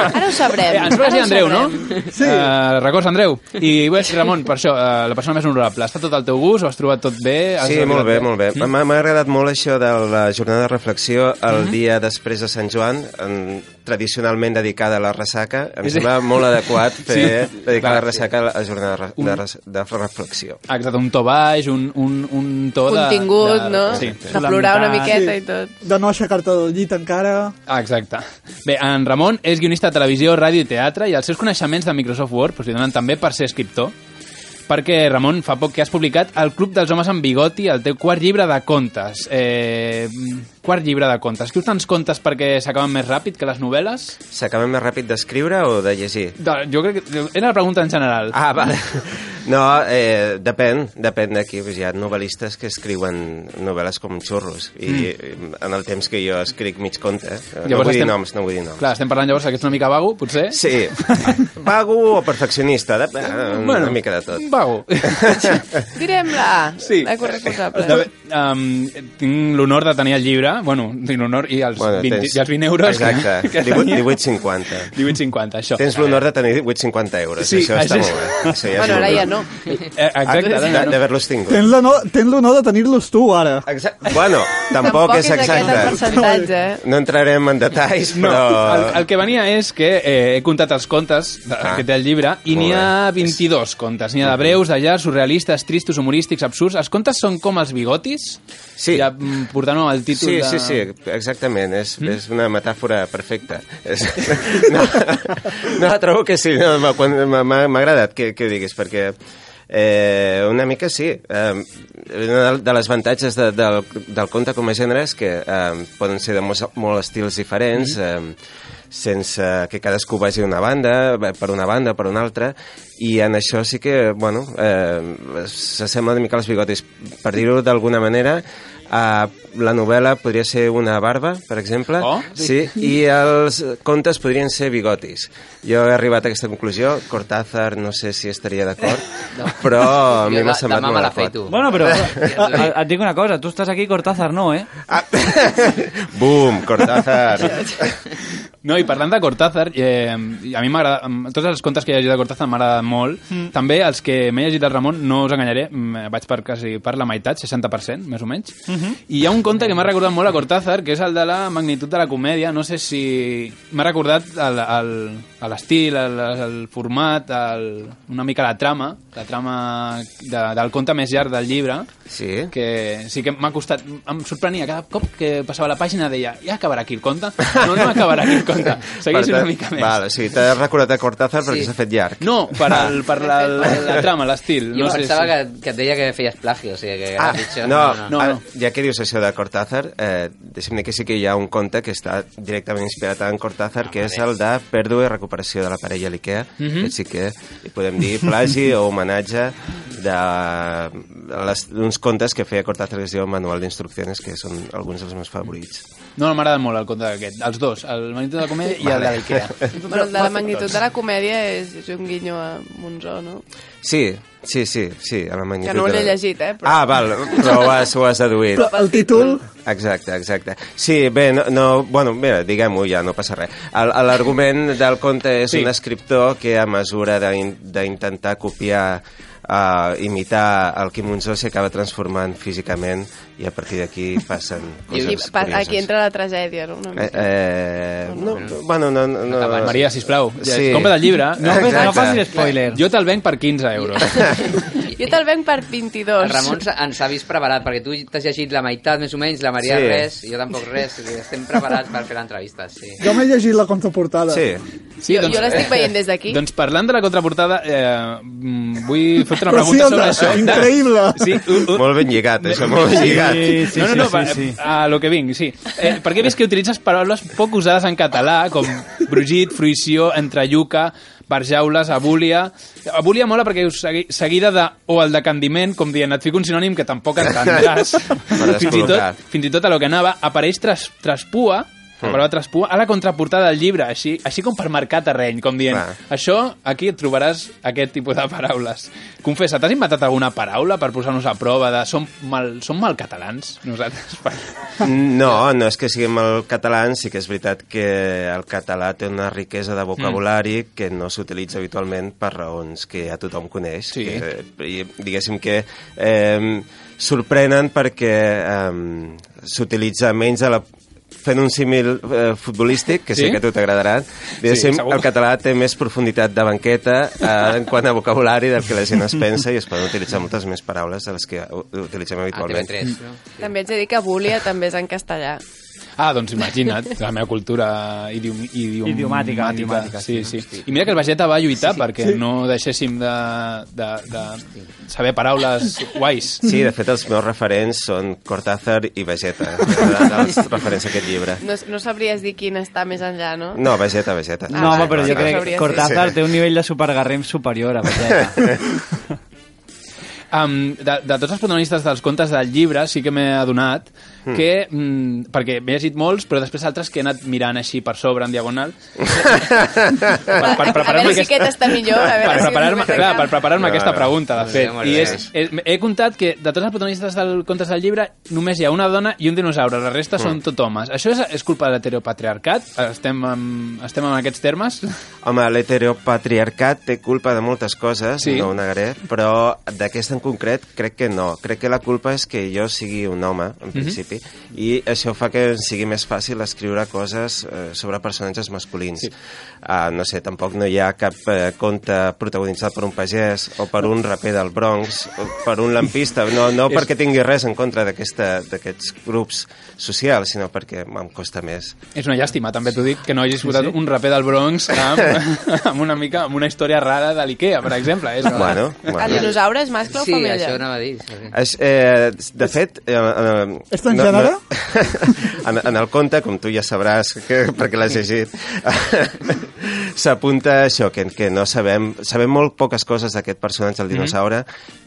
B: Ara
Q: ho sabrem.
B: Eh, ens va
Q: Ara
B: dir
Q: ho
B: Andreu, no?
Q: sabrem.
B: Eh, Sí. Uh, records, Andreu. I bé, Ramon, per això, uh, la persona més honorable valorable? Està tot al teu gust o has trobat tot bé? Has
H: Sí,
B: arribat
H: molt bé,
B: bé?
H: molt bé.
B: Mm?
H: M'ha m'ha agradat molt això de la jornada de reflexió el
B: Mm-hmm.
H: dia després de Sant Joan, en, tradicionalment dedicada a la ressaca. Em
B: Sí.
H: sembla molt adequat fer
B: Sí.
H: dedicar
B: Clar.
H: la ressaca a la jornada de, re-
B: Un-
H: de, res- de reflexió.
B: Exacte, un to baix, un, un, un to de...
F: Contingut,
B: de,
F: no?
B: Sí.
F: De plorar una miqueta i tot.
G: De no aixecar-te del llit encara...
B: Ah, Exacte. Bé, en Ramon és guionista de televisió, ràdio i teatre i els seus coneixements de Microsoft Word doncs, li donen també per ser escriptor. Perquè, Ramon, fa poc que has publicat El Club dels Homes amb Bigoti, el teu quart llibre de contes. Eh, quart llibre de contes. Escrius tants contes perquè s'acaben més ràpid que les novel·les?
H: S'acaba més ràpid d'escriure o de llegir?
B: De, jo crec que... Era la pregunta en general.
H: Ah, vale. No, eh, depèn, depèn d'aquí. Hi ha novel·listes que escriuen novel·les com xurros i mm. en el temps que jo escric mig conte. Eh, no vull dir noms, no vull dir noms.
B: Clar, estem parlant llavors que ets una mica vago, potser?
H: Sí,
B: [laughs]
H: vago o perfeccionista, depèn, bueno, una mica de tot.
B: Vago.
F: Direm-la, sí. la corresponsable.
B: Um, tinc l'honor de tenir el llibre, bueno, tinc l'honor i els, bueno, 20, i els 20 euros
H: Exacte,
B: que, que
H: 18
B: [laughs] tenia.
H: 18,50.
B: 18,50, això.
H: Tens l'honor de tenir 8,50 euros,
B: Sí,
H: sí, això està
B: això- Eh,
H: molt bé. Això ja
F: Bueno, ara ja no.
H: Ah,
B: Exacte, ara ja no.
H: D'haver-los tingut.
G: Tens l'honor tens l'honor de tenir-los tu, ara.
H: Exacte. Bueno, tampoc, és exacte.
F: percentatge, eh?
H: No entrarem en detalls,
B: No,
H: però...
B: el, el que venia és que eh, he comptat els contes de, ah, que té el llibre i
H: molt
B: n'hi ha 22 contes. N'hi ha de breus, de llargs, surrealistes, tristos, humorístics, absurds. Els contes són com els bigotis?
H: Sí.
B: Ja mm, portant-ho al títol
H: Sí,
B: de...
H: sí, sí, exactament. És, mm? és una metàfora perfecta. És... [laughs] No, no, trobo que sí. No, m'ha- quan- m'ha m'ha agradat que, que ho diguis, perquè eh, una mica sí. Eh, un de les avantatges de, del, del conte com a gènere és que eh, poden ser de molts, molts estils diferents,
B: Mm-hmm.
H: mm. eh, sense que cadascú vagi a una banda, va per una banda, per una altra, i en això sí que, bueno, eh, s'assembla una mica als bigotis. Per dir-ho d'alguna manera, eh, la novel·la podria ser una barba, per exemple,
B: Oh.
H: sí, i els contes podrien ser bigotis. Jo he arribat a aquesta conclusió, Cortázar no sé si estaria d'acord, no. però
D: Ah,
H: a mi
E: Jo
H: m'ha
E: de-
H: semblat
E: demà
H: molt
E: me la
H: adequat.
E: fei, tu.
D: Bueno, eh, però
E: [laughs]
D: et, et dic una cosa, tu estàs aquí, Cortázar no, eh?
E: [laughs]
H: Boom, Cortázar.
B: No, i parlant de Cortázar, eh, i a mi m'agrada... em- Tots els contes que he llegit de Cortázar m'agraden molt. Mm. També els que m'he llegit del Ramon, no us enganyaré, mm, vaig per quasi per la meitat, 60%, més o menys. I hi ha un conte que m'ha recordat molt a Cortázar, que és el de la magnitud de la comèdia. No sé si... M'ha recordat el- el- a l'estil, el, el format, el, una mica la trama, la trama de, del conte més llarg del llibre,
H: Sí.
B: que sí que m'ha costat... Em sorprenia cada cop que passava la pàgina deia ja acabarà aquí el conte? No, no acabarà aquí el conte. Segueix
H: Per
B: una
H: tant,
B: mica més.
H: Val, o sigui, t'has recordat a Cortázar perquè s'ha fet llarg.
B: No, per, el, per la, la, la trama, l'estil.
E: Ah. Jo
B: No sé
E: pensava
B: si...
E: que, que et deia que feies plagi, o sigui que era
H: Ah,
E: pitjor.
H: no,
E: no,
H: no, no. ja que dius això de Cortázar, eh, deixem dir que sí que hi ha un conte que està directament inspirat en Cortázar, que és el de pèrdua i recuperació de la parella a l'Ikea.
B: Mhm.
H: que sí que hi podem dir plagi o homenatge de- de les- d'uns contes que feia Cortázar que es diu Manual d'Instrucciones, que són alguns dels meus favorits.
B: No, m'agrada molt el conte aquest. Els dos, el Magnitud de la Comèdia i el de
H: Vale.
E: [laughs]
B: l'Ikea.
F: Bueno, el de la magnitud de la comèdia és, és un guinyo a Monzó, no?
H: Sí, sí, sí, sí, a la magnitud
F: Que no
H: de la-
F: l'he llegit, eh? Però...
H: Ah, val, però ho has, ho has deduït.
G: Però el títol...
H: Exacte, exacte. Sí, bé, no, no bueno, mira, diguem-ho ja, no passa res. El- el- L'argument del conte és
B: Sí.
H: sí. un escriptor que a mesura d'in- d'intentar copiar Uh, imitar el Quim Monzó s'hi acaba transformant físicament i a partir d'aquí passen
F: [laughs] I, i
H: coses
F: pa,
H: curioses.
F: aquí entra la tragèdia, no? Una
H: Eh,
F: mica.
H: eh, no, no, bueno, no... no, no.
B: Maria, sisplau,
H: Sí.
B: compra el llibre.
D: No, fes- no
H: Exacte.
D: facis spoiler.
B: Jo te'l venc per 15
F: [laughs]
B: euros.
F: Jo te'l venc per 22.
E: El Ramon s'ha- ens ha vist preparat, perquè tu t'has llegit la meitat, més o menys, la Maria
H: Sí.
E: res, jo tampoc res, o sigui, estem preparats per fer l'entrevista, sí.
G: Jo m'he llegit la contraportada.
H: Sí,
B: Sí,
F: jo, jo l'estic veient des d'aquí.
B: Doncs parlant de la contraportada, eh, mm, vull fer-te una pregunta
G: Preciosa,
B: sobre això.
G: increïble.
B: Sí, un, un,
H: molt ben lligat, això, molt ben lligat.
B: no, no, no, sí, a lo que vinc, sí. Eh, perquè he vist que utilitzes paraules poc usades en català, com brugit, fruïció, entrelluca, barjaules, abúlia... Abúlia mola perquè us segui, seguida de, o el decandiment, com dient, et fico un sinònim que tampoc entendràs.
H: Per
B: fins, i tot,
H: descol·locar.
B: fins i tot a lo que anava, apareix tras, traspua, La paraula traspua a la contraportada del llibre, així, així com per marcar terreny, com dient, això, aquí et trobaràs aquest tipus de paraules. Confessa, t'has inventat alguna paraula per posar-nos a prova de som mal, som mal catalans, nosaltres?
H: No, no és que siguem el català, sí que és veritat que el català té una riquesa de vocabulari mm. que no s'utilitza habitualment per raons que ja tothom coneix.
B: Sí.
H: Que, i diguéssim que eh, sorprenen perquè eh, s'utilitza menys a la fent un símil eh, futbolístic, que sí?
B: Sí?
H: sé que a tu t'agradarà,
B: Sí,
H: diguéssim,
B: segur.
H: el català té més profunditat de banqueta eh, en quant a vocabulari del que la gent es pensa i es poden utilitzar moltes més paraules de les que u- utilitzem habitualment.
E: TV3,
H: Mm.
F: També ets de dir que Búlia també és en castellà.
B: Ah, doncs imagina't, la meva cultura idiom, idiom,
D: Idiomàtica, idiomàtica,
B: Sí, sí, I mira que el Vegeta va lluitar sí, sí. perquè
H: Sí.
B: no deixéssim de, de, de saber paraules guais.
H: Sí, de fet, els meus referents són Cortázar i Vegeta,
D: [laughs]
H: els referents a aquest llibre.
F: No, no sabries dir quin està més enllà, no?
H: No, Vegeta, Vegeta.
D: Ah,
H: Ah,
D: No, home, però jo crec que
F: sabria
D: Cortázar
F: dir.
D: té un nivell de supergarrem [laughs] superior a Vegeta.
B: [laughs] Um, de, de tots els protagonistes dels contes del llibre sí que m'he adonat
H: Hmm.
D: Mm.
B: que, mm, perquè m'he llegit molts, però després altres que he anat mirant així per sobre, en
H: [laughs]
B: diagonal. per, per
F: A veure si aquest està millor, a veure
B: per
F: si
B: preparar-me
F: us ho
B: clar, per preparar me
H: No,
B: aquesta
H: no.
B: pregunta, de fet.
H: Sí, molt
B: I
H: bé.
B: és, és, he comptat que de tots els protagonistes del contes del llibre només hi ha una dona i un dinosaure, la resta
H: Mm.
B: són tot homes. Això és, és culpa de l'heteropatriarcat? Estem, en, estem en aquests termes?
H: Home, l'heteropatriarcat té culpa de moltes coses,
B: Sí.
H: sí. no ho negaré, però d'aquesta en concret crec que no. Crec que la culpa és que jo sigui un home, en
B: Mhm.
H: principi, i això fa que ens sigui més fàcil escriure coses eh, sobre personatges masculins. Sí. Uh, no sé, tampoc no hi ha cap eh, conte protagonitzat per un pagès o per un raper del Bronx o per un lampista, no, no
B: [laughs] És-
H: perquè tingui res en contra d'aquesta- d'aquests grups socials, sinó perquè em costa més.
B: És una llàstima, també t'ho dic, que no hagis votat
H: sí.
B: un raper del Bronx amb, [laughs] amb una mica amb una història rara de l'Ikea, per exemple. És,
H: Bueno, bueno.
F: El dinosaure és mascle
E: Sí,
F: o femella?
E: això anava a dir.
H: Es, eh, de fet... Eh, eh,
G: És transgènere?
H: [laughs] en, en el conte, com tu ja sabràs, que, perquè l'has llegit, [laughs] s'apunta això, que, que no sabem... Sabem molt poques coses d'aquest personatge,
G: Mhm.
H: el dinosaure,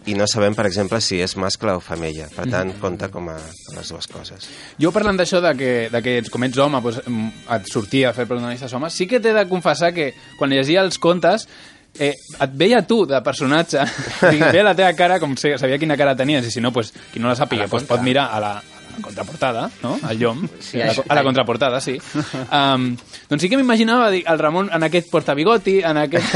H: i no sabem, per exemple, si és mascle o femella. Per
G: Mhm.
H: tant, compta com a, com les dues coses.
B: Jo parlant d'això, de, que, de que ets, com ets home, doncs, mm, et sortia a fer protagonistes homes, sí que t'he de confessar que quan llegia els contes eh, et veia tu de [laughs] personatge, Dic, veia la teva cara, com sé, sabia quina cara tenies, i si no, pues, qui no la sàpiga, pues, pot mirar a la, a la contraportada, no? Al llom, sí, a, la, a la contraportada, sí. Um, doncs sí que m'imaginava dic, el Ramon en aquest portabigoti, en [laughs] aquest,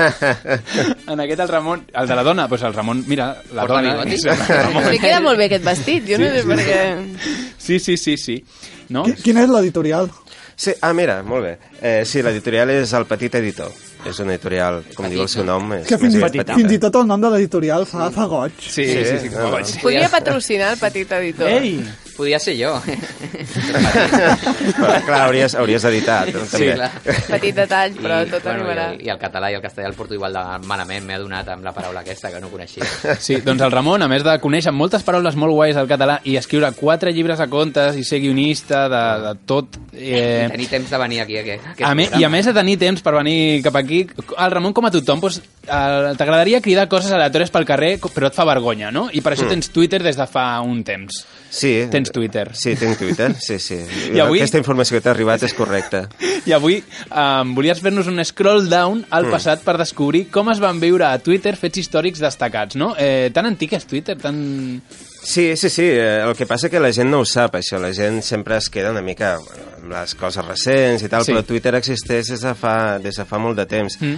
B: en aquest el Ramon, el de la dona, pues el Ramon, mira, la dona...
E: Portabigoti?
B: Sí, el Ramon.
F: Li queda molt bé aquest vestit, jo no sé per què...
B: Sí, sí, sí, sí. No?
G: Quina és l'editorial?
H: Sí, ah, mira, molt bé. Eh, sí, l'editorial és El Petit Editor. És un editorial, com diu el seu nom, és
G: Que fins,
H: més aviat
G: fins i tot el nom de l'editorial fa, fa goig. Ah.
B: Sí, sí, sí, sí,
H: no, no.
F: Podria patrocinar el petit editor. Ei!
E: Podia ser jo.
H: Però, clar, hauries, hauries d'editar, no? també.
F: Petit detall, però
E: I,
F: tot
E: bueno,
F: arribarà.
E: i, el, I el català i el castellà el porto igual de malament, m'he adonat amb la paraula aquesta que no coneixia.
B: Sí, doncs el Ramon, a més de conèixer moltes paraules molt guais al català i escriure quatre llibres a contes i ser guionista de, de tot...
E: Eh...
B: Eh,
E: Tenir temps de venir aquí. aquí, aquí
B: a me, I a més de tenir temps per venir cap aquí, el Ramon, com a tothom, doncs, eh, t'agradaria cridar coses aleatòries pel carrer, co- però et fa vergonya, no? I per això
H: Mm.
B: tens Twitter des de fa un temps.
H: Sí.
B: Tens Twitter.
H: Sí, tinc Twitter, sí, sí.
B: I avui-
H: Aquesta informació que t'ha arribat és correcta.
B: I avui eh, volies fer-nos un scroll down al
H: Mm.
B: passat per descobrir com es van viure a Twitter fets històrics destacats, no? Eh, tan antic és Twitter, tan...
H: Sí, sí, sí, eh, el que passa que la gent no ho sap, això. La gent sempre es queda una mica bueno, amb les coses recents i tal,
B: Sí.
H: sí. però Twitter existeix des de fa, des de fa molt de temps.
B: Mm.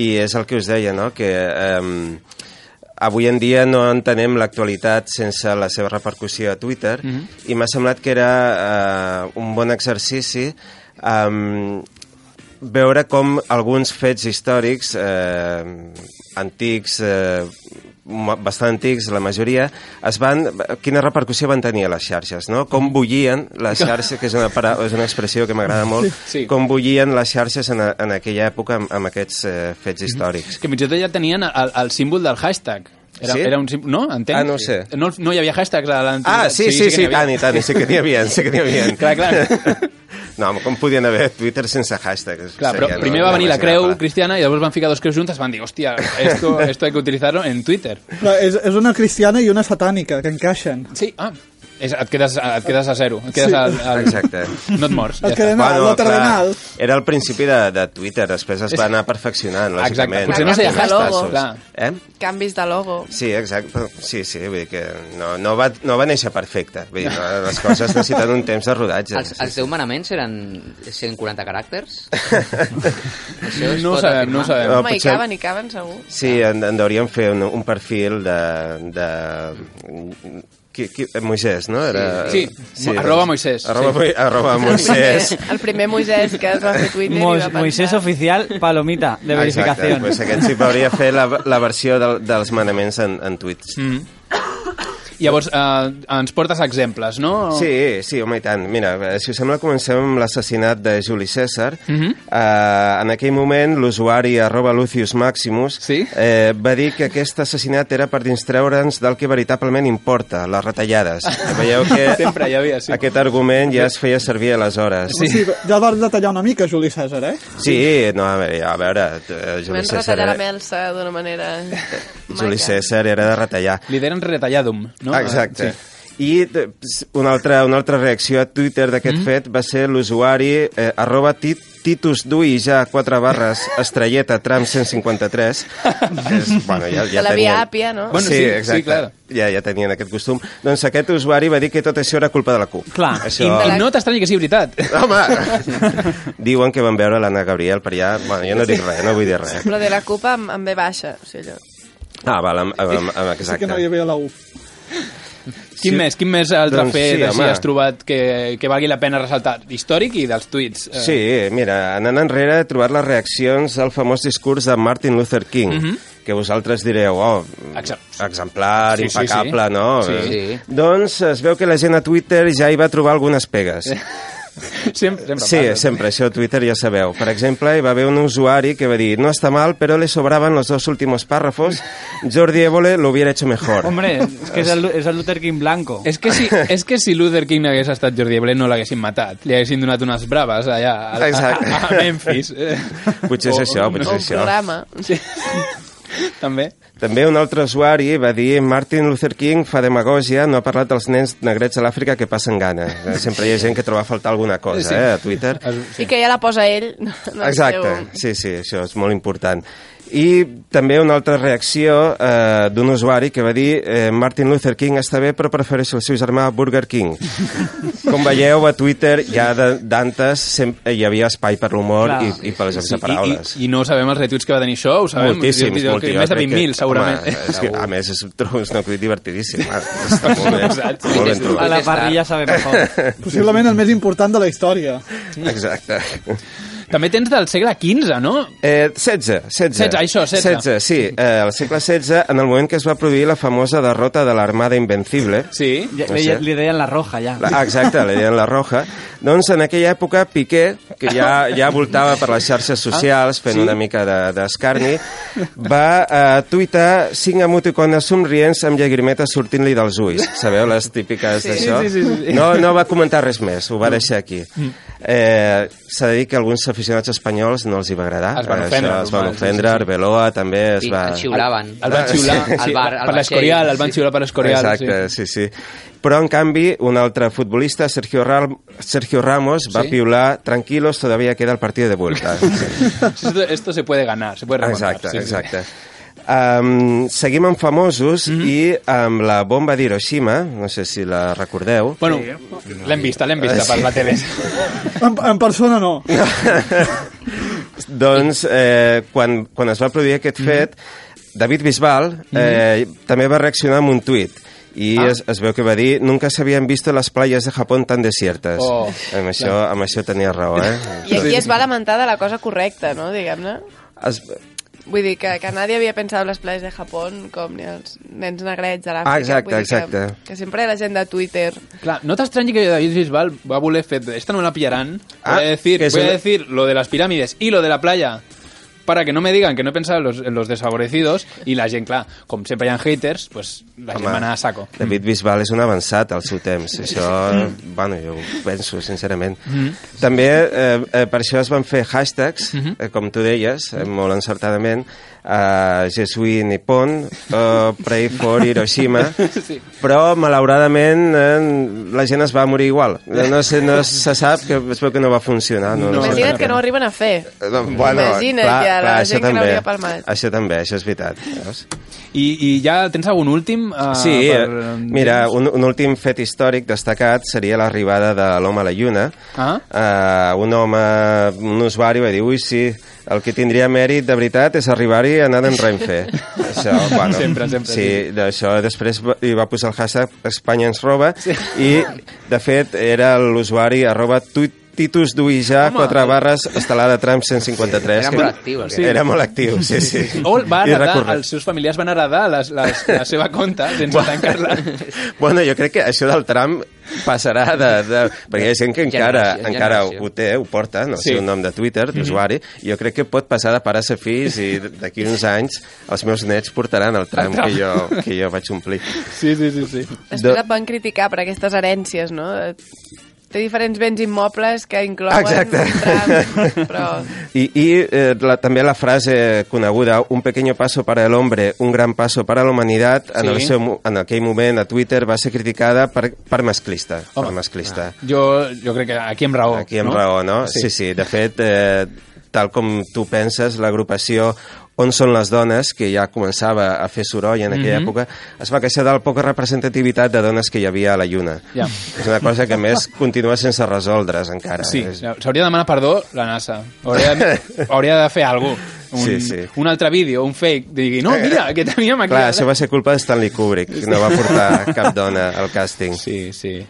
H: I és el que us deia, no?, que... Eh, Avui en dia no entenem l'actualitat sense la seva repercussió a Twitter mm
B: Mhm.
H: -hmm. i m'ha semblat que era eh, un bon exercici eh, veure com alguns fets històrics eh, antics eh, ma- bastant antics, la majoria, es van, quina repercussió van tenir a les xarxes, no? Com bullien
B: [laughs]
H: les xarxes, que és una, para, és una expressió que m'agrada molt,
B: Sí.
H: com bullien les xarxes en, a- en aquella època amb, amb aquests eh, fets històrics.
B: Mhm. que fins i tot ja tenien el, el símbol del hashtag. Era,
H: Sí?
B: era un símbol, no? Entenc?
H: Ah, no ho sé.
B: No, no hi havia hashtags a l'antic.
H: Ah, sí,
B: que
H: sí, sí,
B: n'hi
H: sí,
B: havia.
H: tant i tant, sí que n'hi havia, sí que n'hi havia.
B: [laughs] Clar, clar.
H: [laughs] No, home, com podien haver Twitter sense hashtags?
B: Clar, però
H: Seria, no,
B: primer va venir la creu
H: inimaginable.
B: cristiana i després van ficar dos creus juntes van dir, hòstia,
H: [laughs]
B: esto, esto hay que utilizarlo en Twitter.
G: Però és, és una cristiana i una satànica, que encaixen. Doncs
B: Sí, ah, És, et, quedes, et quedes a zero. Et quedes sí.
H: Sí.
B: al, al...
H: Exacte.
B: No et mors.
G: El cardenal,
H: Bueno,
G: el cardenal.
H: clar, Era el principi de, de Twitter, després es
B: És-
H: va anar perfeccionant,
B: Exacte,
H: lògicament.
B: potser no
F: seria hashtag, clar.
H: Eh?
F: Canvis de logo.
H: Sí, exacte. Sí, sí, vull dir que no, no, va, no va néixer perfecte. Vull dir, no, les coses necessiten un temps de rodatge.
E: Els, els deu manaments eren 140 caràcters? Això es
B: No
E: pot
B: sabem, no
E: afirmar?
B: sabem.
F: Home,
H: No,
F: potser...
H: potser-
F: hi caben, hi caben, segur.
H: Sí,
B: Ah.
H: en, en deuríem fer un, un perfil de... de qui, qui, Moisès, no? Era,
B: Sí, arroba Moisés.
H: Arroba,
B: Sí.
H: Moi- arroba Moisès.
F: El primer, el primer Moisès que es va fer Twitter i va
D: Mois-
F: pensar...
D: Moisés oficial, palomita de verificación.
H: Exacte, pues aquest sí podria fer la, la versió del, dels manaments en, en tuits.
B: Mm. Llavors, eh, ens portes exemples, no?
H: Sí, sí, home, i tant. Mira, eh, si us sembla, comencem amb l'assassinat de Juli César.
B: Mhm.
H: eh, en aquell moment, l'usuari arroba Lucius Maximus eh, va dir que aquest assassinat era per distreure'ns del que veritablement importa, les
B: [laughs]
H: retallades. Veieu que
B: Sempre hi havia, sí.
H: aquest argument ja es feia servir aleshores.
G: Sí. sí, ja el vas detallar una mica, Juli César, eh?
H: Sí, no, a veure, a veure eh, Juli,
F: Van retallar la
H: César,
F: melsa d'una manera...
H: Juli César era de retallar. Ah,
B: Li deien retalladum, no?
H: Exacte.
B: Sí.
H: I de- ps- una altra, una altra reacció a Twitter d'aquest mm. fet va ser l'usuari eh, arroba tit, Titus Dui ja 4 barres estrelleta tram
B: [laughs]
H: 153 és, bueno, ja,
F: De
H: ja
F: la via
H: tenien...
F: àpia, no?
H: sí, exacte. Ja, ja tenien aquest costum. Doncs aquest usuari va dir que tot això era culpa de la CUP.
B: Clar.
H: Això...
B: I, I no t'estranyi que sigui veritat.
H: Home! Diuen que van veure l'Anna Gabriel per allà. Bueno, jo no dic res, no vull dir res.
F: Però de la CUP amb, amb B baixa, o sigui, allò.
H: Ah, val, amb, amb, amb, amb
G: Sí
H: exacte.
G: que no hi havia la U.
B: Quin
H: Sí.
B: més? [laughs] Quin més altre
H: Doncs
B: doncs, fet
H: sí,
B: sí, així
H: home.
B: has trobat que, que valgui la pena ressaltar? Històric i dels tuits. Eh,
H: Sí, mira, anant enrere he trobat les reaccions al famós discurs de Martin Luther King,
B: Mhm.
H: que vosaltres direu, oh, exemplar,
B: Sí, sí,
H: impecable,
B: sí.
H: no?
B: Sí.
H: Eh, Doncs es veu que la gent a Twitter ja hi va trobar algunes
B: [laughs]
H: pegues.
B: Sempre, sempre
H: Sí,
B: passa.
H: sempre, això a Twitter ja sabeu. Per exemple, hi va haver un usuari que va dir no està mal, però le sobraven los dos últimos párrafos, Jordi Évole lo hubiera hecho mejor.
D: Hombre, es que es el, es el Luther King blanco.
B: És que, si,
H: [laughs]
B: és que si Luther King hagués estat Jordi Eblé no l'haguessin matat. Li haguessin donat unes braves allà a, a,
H: Exacte.
B: [laughs] a Memphis. eh.
H: Potser és això, potser és això.
B: Sí. També.
H: També un altre usuari va dir Martin Luther King fa demagògia, no ha parlat dels nens negrets a l'Àfrica que passen gana. Eh, Sempre hi ha gent que troba a faltar alguna cosa,
F: Sí.
H: eh, a Twitter.
F: I que ja la posa ell. No, no el
H: Exacte, sí,
F: seu-
H: sí, això és molt important. I també una altra reacció eh, d'un usuari que va dir eh, Martin Luther King està bé però prefereixo el seu germà Burger
F: [laughs]
H: King. Com veieu a Twitter ja de- d'antes sempre hi havia espai per l'humor
B: Clar.
H: i, i per les jocs de paraules.
B: I, i, I no sabem els retuits que va tenir això, ho sabem.
H: Moltíssims,
B: Vull dir,
H: moltíssims.
B: Més de
H: crec que-
B: 20.000, segurament. [laughs]
H: Home, eh, és que, a més, és, trobo un acudit divertidíssim. Ah, [laughs] Està molt bé.
B: Saps?
H: molt ben trobat.
D: A la parrilla sabe mejor.
G: Possiblement el més important de la història.
H: [laughs] Exacte.
B: També tens del segle XV, no?
H: Eh, 16, 16.
B: 16, això, 16.
H: 16, sí. Eh, al segle XVI, en el moment que es va produir la famosa derrota de l'Armada Invencible.
B: Sí.
D: Ja, ja, li deien la roja, ja.
H: La- Exacte, li deien la roja. Doncs en aquella època Piqué, que ja, ja voltava per les xarxes socials fent
B: Ah, Sí.
H: una mica de- d'escarni, de, va eh, tuitar cinc emoticones somrients amb llagrimetes sortint-li dels ulls. Sabeu les típiques
B: Sí.
H: d'això?
B: Sí, sí, sí, Mm. sí.
H: No, no va comentar res més, ho va deixar aquí. Eh, S'ha de dir que a alguns aficionats espanyols no els hi va agradar.
B: Es van ofendre,
H: Això, es van
B: normal, sí, sí,
H: ofendre,
B: sí.
H: Arbeloa també es
E: I
H: va...
E: el xiulaven.
B: El van xiular
H: Sí.
E: Al bar, al
B: per l'Escorial, el van xiular per l'Escorial.
H: Exacte, sí. sí, Però, en canvi, un altre futbolista, Sergio, Ram Sergio Ramos, va
B: Sí?
H: piular tranquilos, todavía queda el partido de
B: [laughs]
H: vuelta.
B: Sí. Esto, esto se puede ganar, se puede remontar.
H: exacte, exacte. Um, seguim amb famosos
B: Mhm.
H: i amb la bomba d'Hiroshima, no sé si la recordeu. Ah,
B: Bueno, l'hem vista, l'hem vista per la tele.
H: [laughs]
G: En, en persona
B: [laughs]
G: no.
H: [coughs] doncs, eh, quan, quan es va produir aquest fet, David Bisbal eh, també va reaccionar amb un tuit i
B: Ah.
H: es, es veu que va dir nunca s'havien visto las playas de Japón tan desiertas.
F: Oh.
H: Amb, això, amb això tenia raó, eh?
F: I aquí es va lamentar de la cosa correcta, no?, diguem-ne.
H: Es-
F: Vull dir que, que nadie havia pensat en les playas de Japó com ni els nens negrets de l'Àfrica.
H: Ah, exacte,
F: Vull dir
H: exacte.
F: Que, que sempre la gent de Twitter...
B: Clar, no t'estranyi que David Bisbal va voler fer... Esta no la pillaran.
H: Ah,
B: voy a decir,
H: que
B: voy
H: se-
B: a decir lo de las pirámides y lo de la playa. para que no me digan que no he pensado en los, en los desfavorecidos y la gent, clar, com sempre hi ha haters, pues, la gent va anar a saco.
H: David Bisbal és un avançat al seu temps. Això, bueno, jo ho penso, sincerament.
F: Mm -hmm.
B: Mhm.
H: També eh, eh, per això es van fer hashtags,
F: Mm -hmm.
B: Mhm.
H: eh, com tu deies, eh, molt encertadament, eh, Jesui Nippon, eh, Pray for
F: [laughs]
H: Hiroshima,
B: Sí.
H: però malauradament eh, la gent es va morir igual. Eh, No, sé, no se sap, que es veu que no va funcionar. No, no, sé per
F: Imagina't
H: què.
F: que no ho arriben a fer.
H: Eh, doncs, Bueno,
F: Imagina't
H: clar,
F: ja, la
H: clar,
F: gent
H: això
F: que no
H: també.
F: hauria palmat.
H: Això també, això és veritat. Veus?
B: I, I ja tens algun últim? eh,
H: Sí,
B: per-
H: eh, mira, un, un últim fet històric destacat seria l'arribada de l'home a la Lluna.
B: Ah?
H: Eh, un home, un usuari va dir, ui, sí, el que tindria mèrit de veritat és arribar-hi anant en Renfe. això, bueno,
B: Sempre, sempre,
H: Sí, d'això després va- hi va posar el hashtag Espanya ens roba sí. i, de fet, era l'usuari arroba tuit Titus Duija, 4 barres, estelada Trump 153.
B: Era
H: que-
B: molt actiu, aquest.
H: Era molt actiu, sí, sí.
B: [laughs] O va
H: I
B: heredar,
H: recurrent.
B: els seus familiars van heredar les, les, la seva compta sense tancar-la.
H: Bueno, jo crec que això del tram passarà de... de perquè hi ha gent que encara,
B: Generació, Mhm.
H: encara
B: generació.
H: ho té, eh, ho porta, no
B: Sí.
H: sé, un nom de Twitter, d'usuari. Jo crec que pot passar de pares a fills i d'aquí uns anys els meus nets portaran el
B: El
H: tram,
B: tram.
H: Que, jo, que jo vaig omplir.
B: Sí, sí, sí. sí.
F: Després et van criticar per aquestes herències, no? Té diferents béns immobles que inclouen...
H: Exacte. [laughs] I, i eh, la, també la frase coneguda, un pequeño paso para el hombre, un gran paso para la humanidad, en,
B: Sí.
H: el seu, mo- en aquell moment a Twitter va ser criticada per, per masclista. per masclista.
B: Jo, jo crec que aquí amb raó.
H: Aquí amb no? raó, no? Sí, sí. sí. De fet, eh, tal com tu penses, l'agrupació on són les dones, que ja començava a fer soroll en aquella
B: Mhm.
H: època, es va queixar de la poca representativitat de dones que hi havia a la Lluna.
B: Ja.
H: És una cosa que, a més, continua sense resoldre's encara.
B: Sí,
H: És-
B: s'hauria de demanar perdó la NASA. Hauria
H: [laughs]
B: de, hauria de fer alguna cosa. Un,
H: Sí, sí.
B: un altre vídeo, un fake, digui, no, mira, [laughs] que teníem aquí.
H: Clar,
B: ara.
H: això va ser culpa de Stanley Kubrick, que no va
B: [laughs]
H: portar cap dona al càsting.
B: Sí, sí.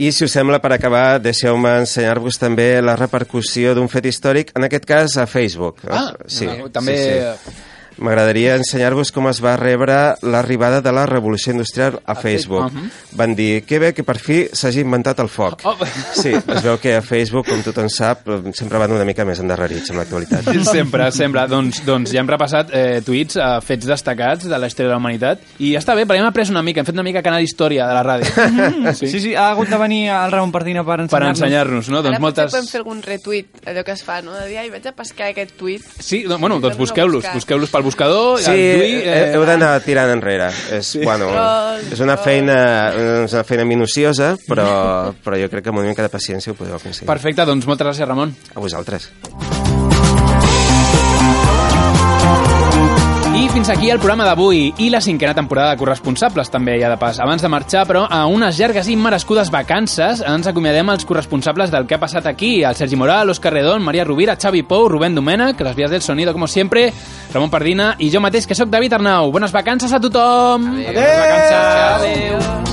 H: I, si us sembla, per acabar, deixeu-me ensenyar-vos també la repercussió d'un fet històric, en aquest cas a Facebook.
B: Ah,
H: sí,
B: no, també-
H: sí, sí. M'agradaria ensenyar-vos com es va rebre l'arribada de la revolució industrial a Facebook.
B: Facebook, uh-huh.
H: Van dir, que bé que per fi s'hagi inventat el foc.
B: Oh.
H: Sí, es veu que a Facebook, com tothom sap, sempre van una mica més endarrerits amb l'actualitat.
B: [laughs] Sempre, sempre. Doncs, doncs ja hem repassat eh, tuits, eh, fets destacats de la història de la humanitat. I ja està bé, perquè hem après una mica, hem fet una mica canal història de la
H: [laughs]
B: ràdio.
D: Sí. sí, sí, ha hagut de venir al Ramon Partida per ensenyar-nos.
B: Per ensenyar-nos, no? Doncs
F: Ara potser
B: moltes...
F: podem fer algun retuit, allò que es fa, no? De dir, ai, vaig a pescar aquest tuit.
B: Sí, doncs, bueno, doncs
F: Podem
B: busqueu-los.
F: buscar.
B: Busqueu-los pel buscador.
H: Sí,
B: el Dui,
H: eh, heu d'anar tirant enrere. És, sí. bueno,
B: Troll,
H: és una feina, és una feina minuciosa, però, però jo crec que amb una mica de paciència ho podeu aconseguir.
B: Perfecte, doncs moltes gràcies, Ramon.
H: A vosaltres.
B: I fins aquí el programa d'avui i la cinquena temporada de Corresponsables, també hi ha de pas. Abans de marxar, però, a unes llargues i merescudes vacances, ens acomiadem els corresponsables del que ha passat aquí. El Sergi Moral, Òscar Redon, Maria Rovira, Xavi Pou, Rubén Domènech, les vies del sonido, com sempre, Ramon Pardina i jo mateix, que sóc David Arnau. Bones vacances a tothom! Adéu! Bones vacances! Adéu!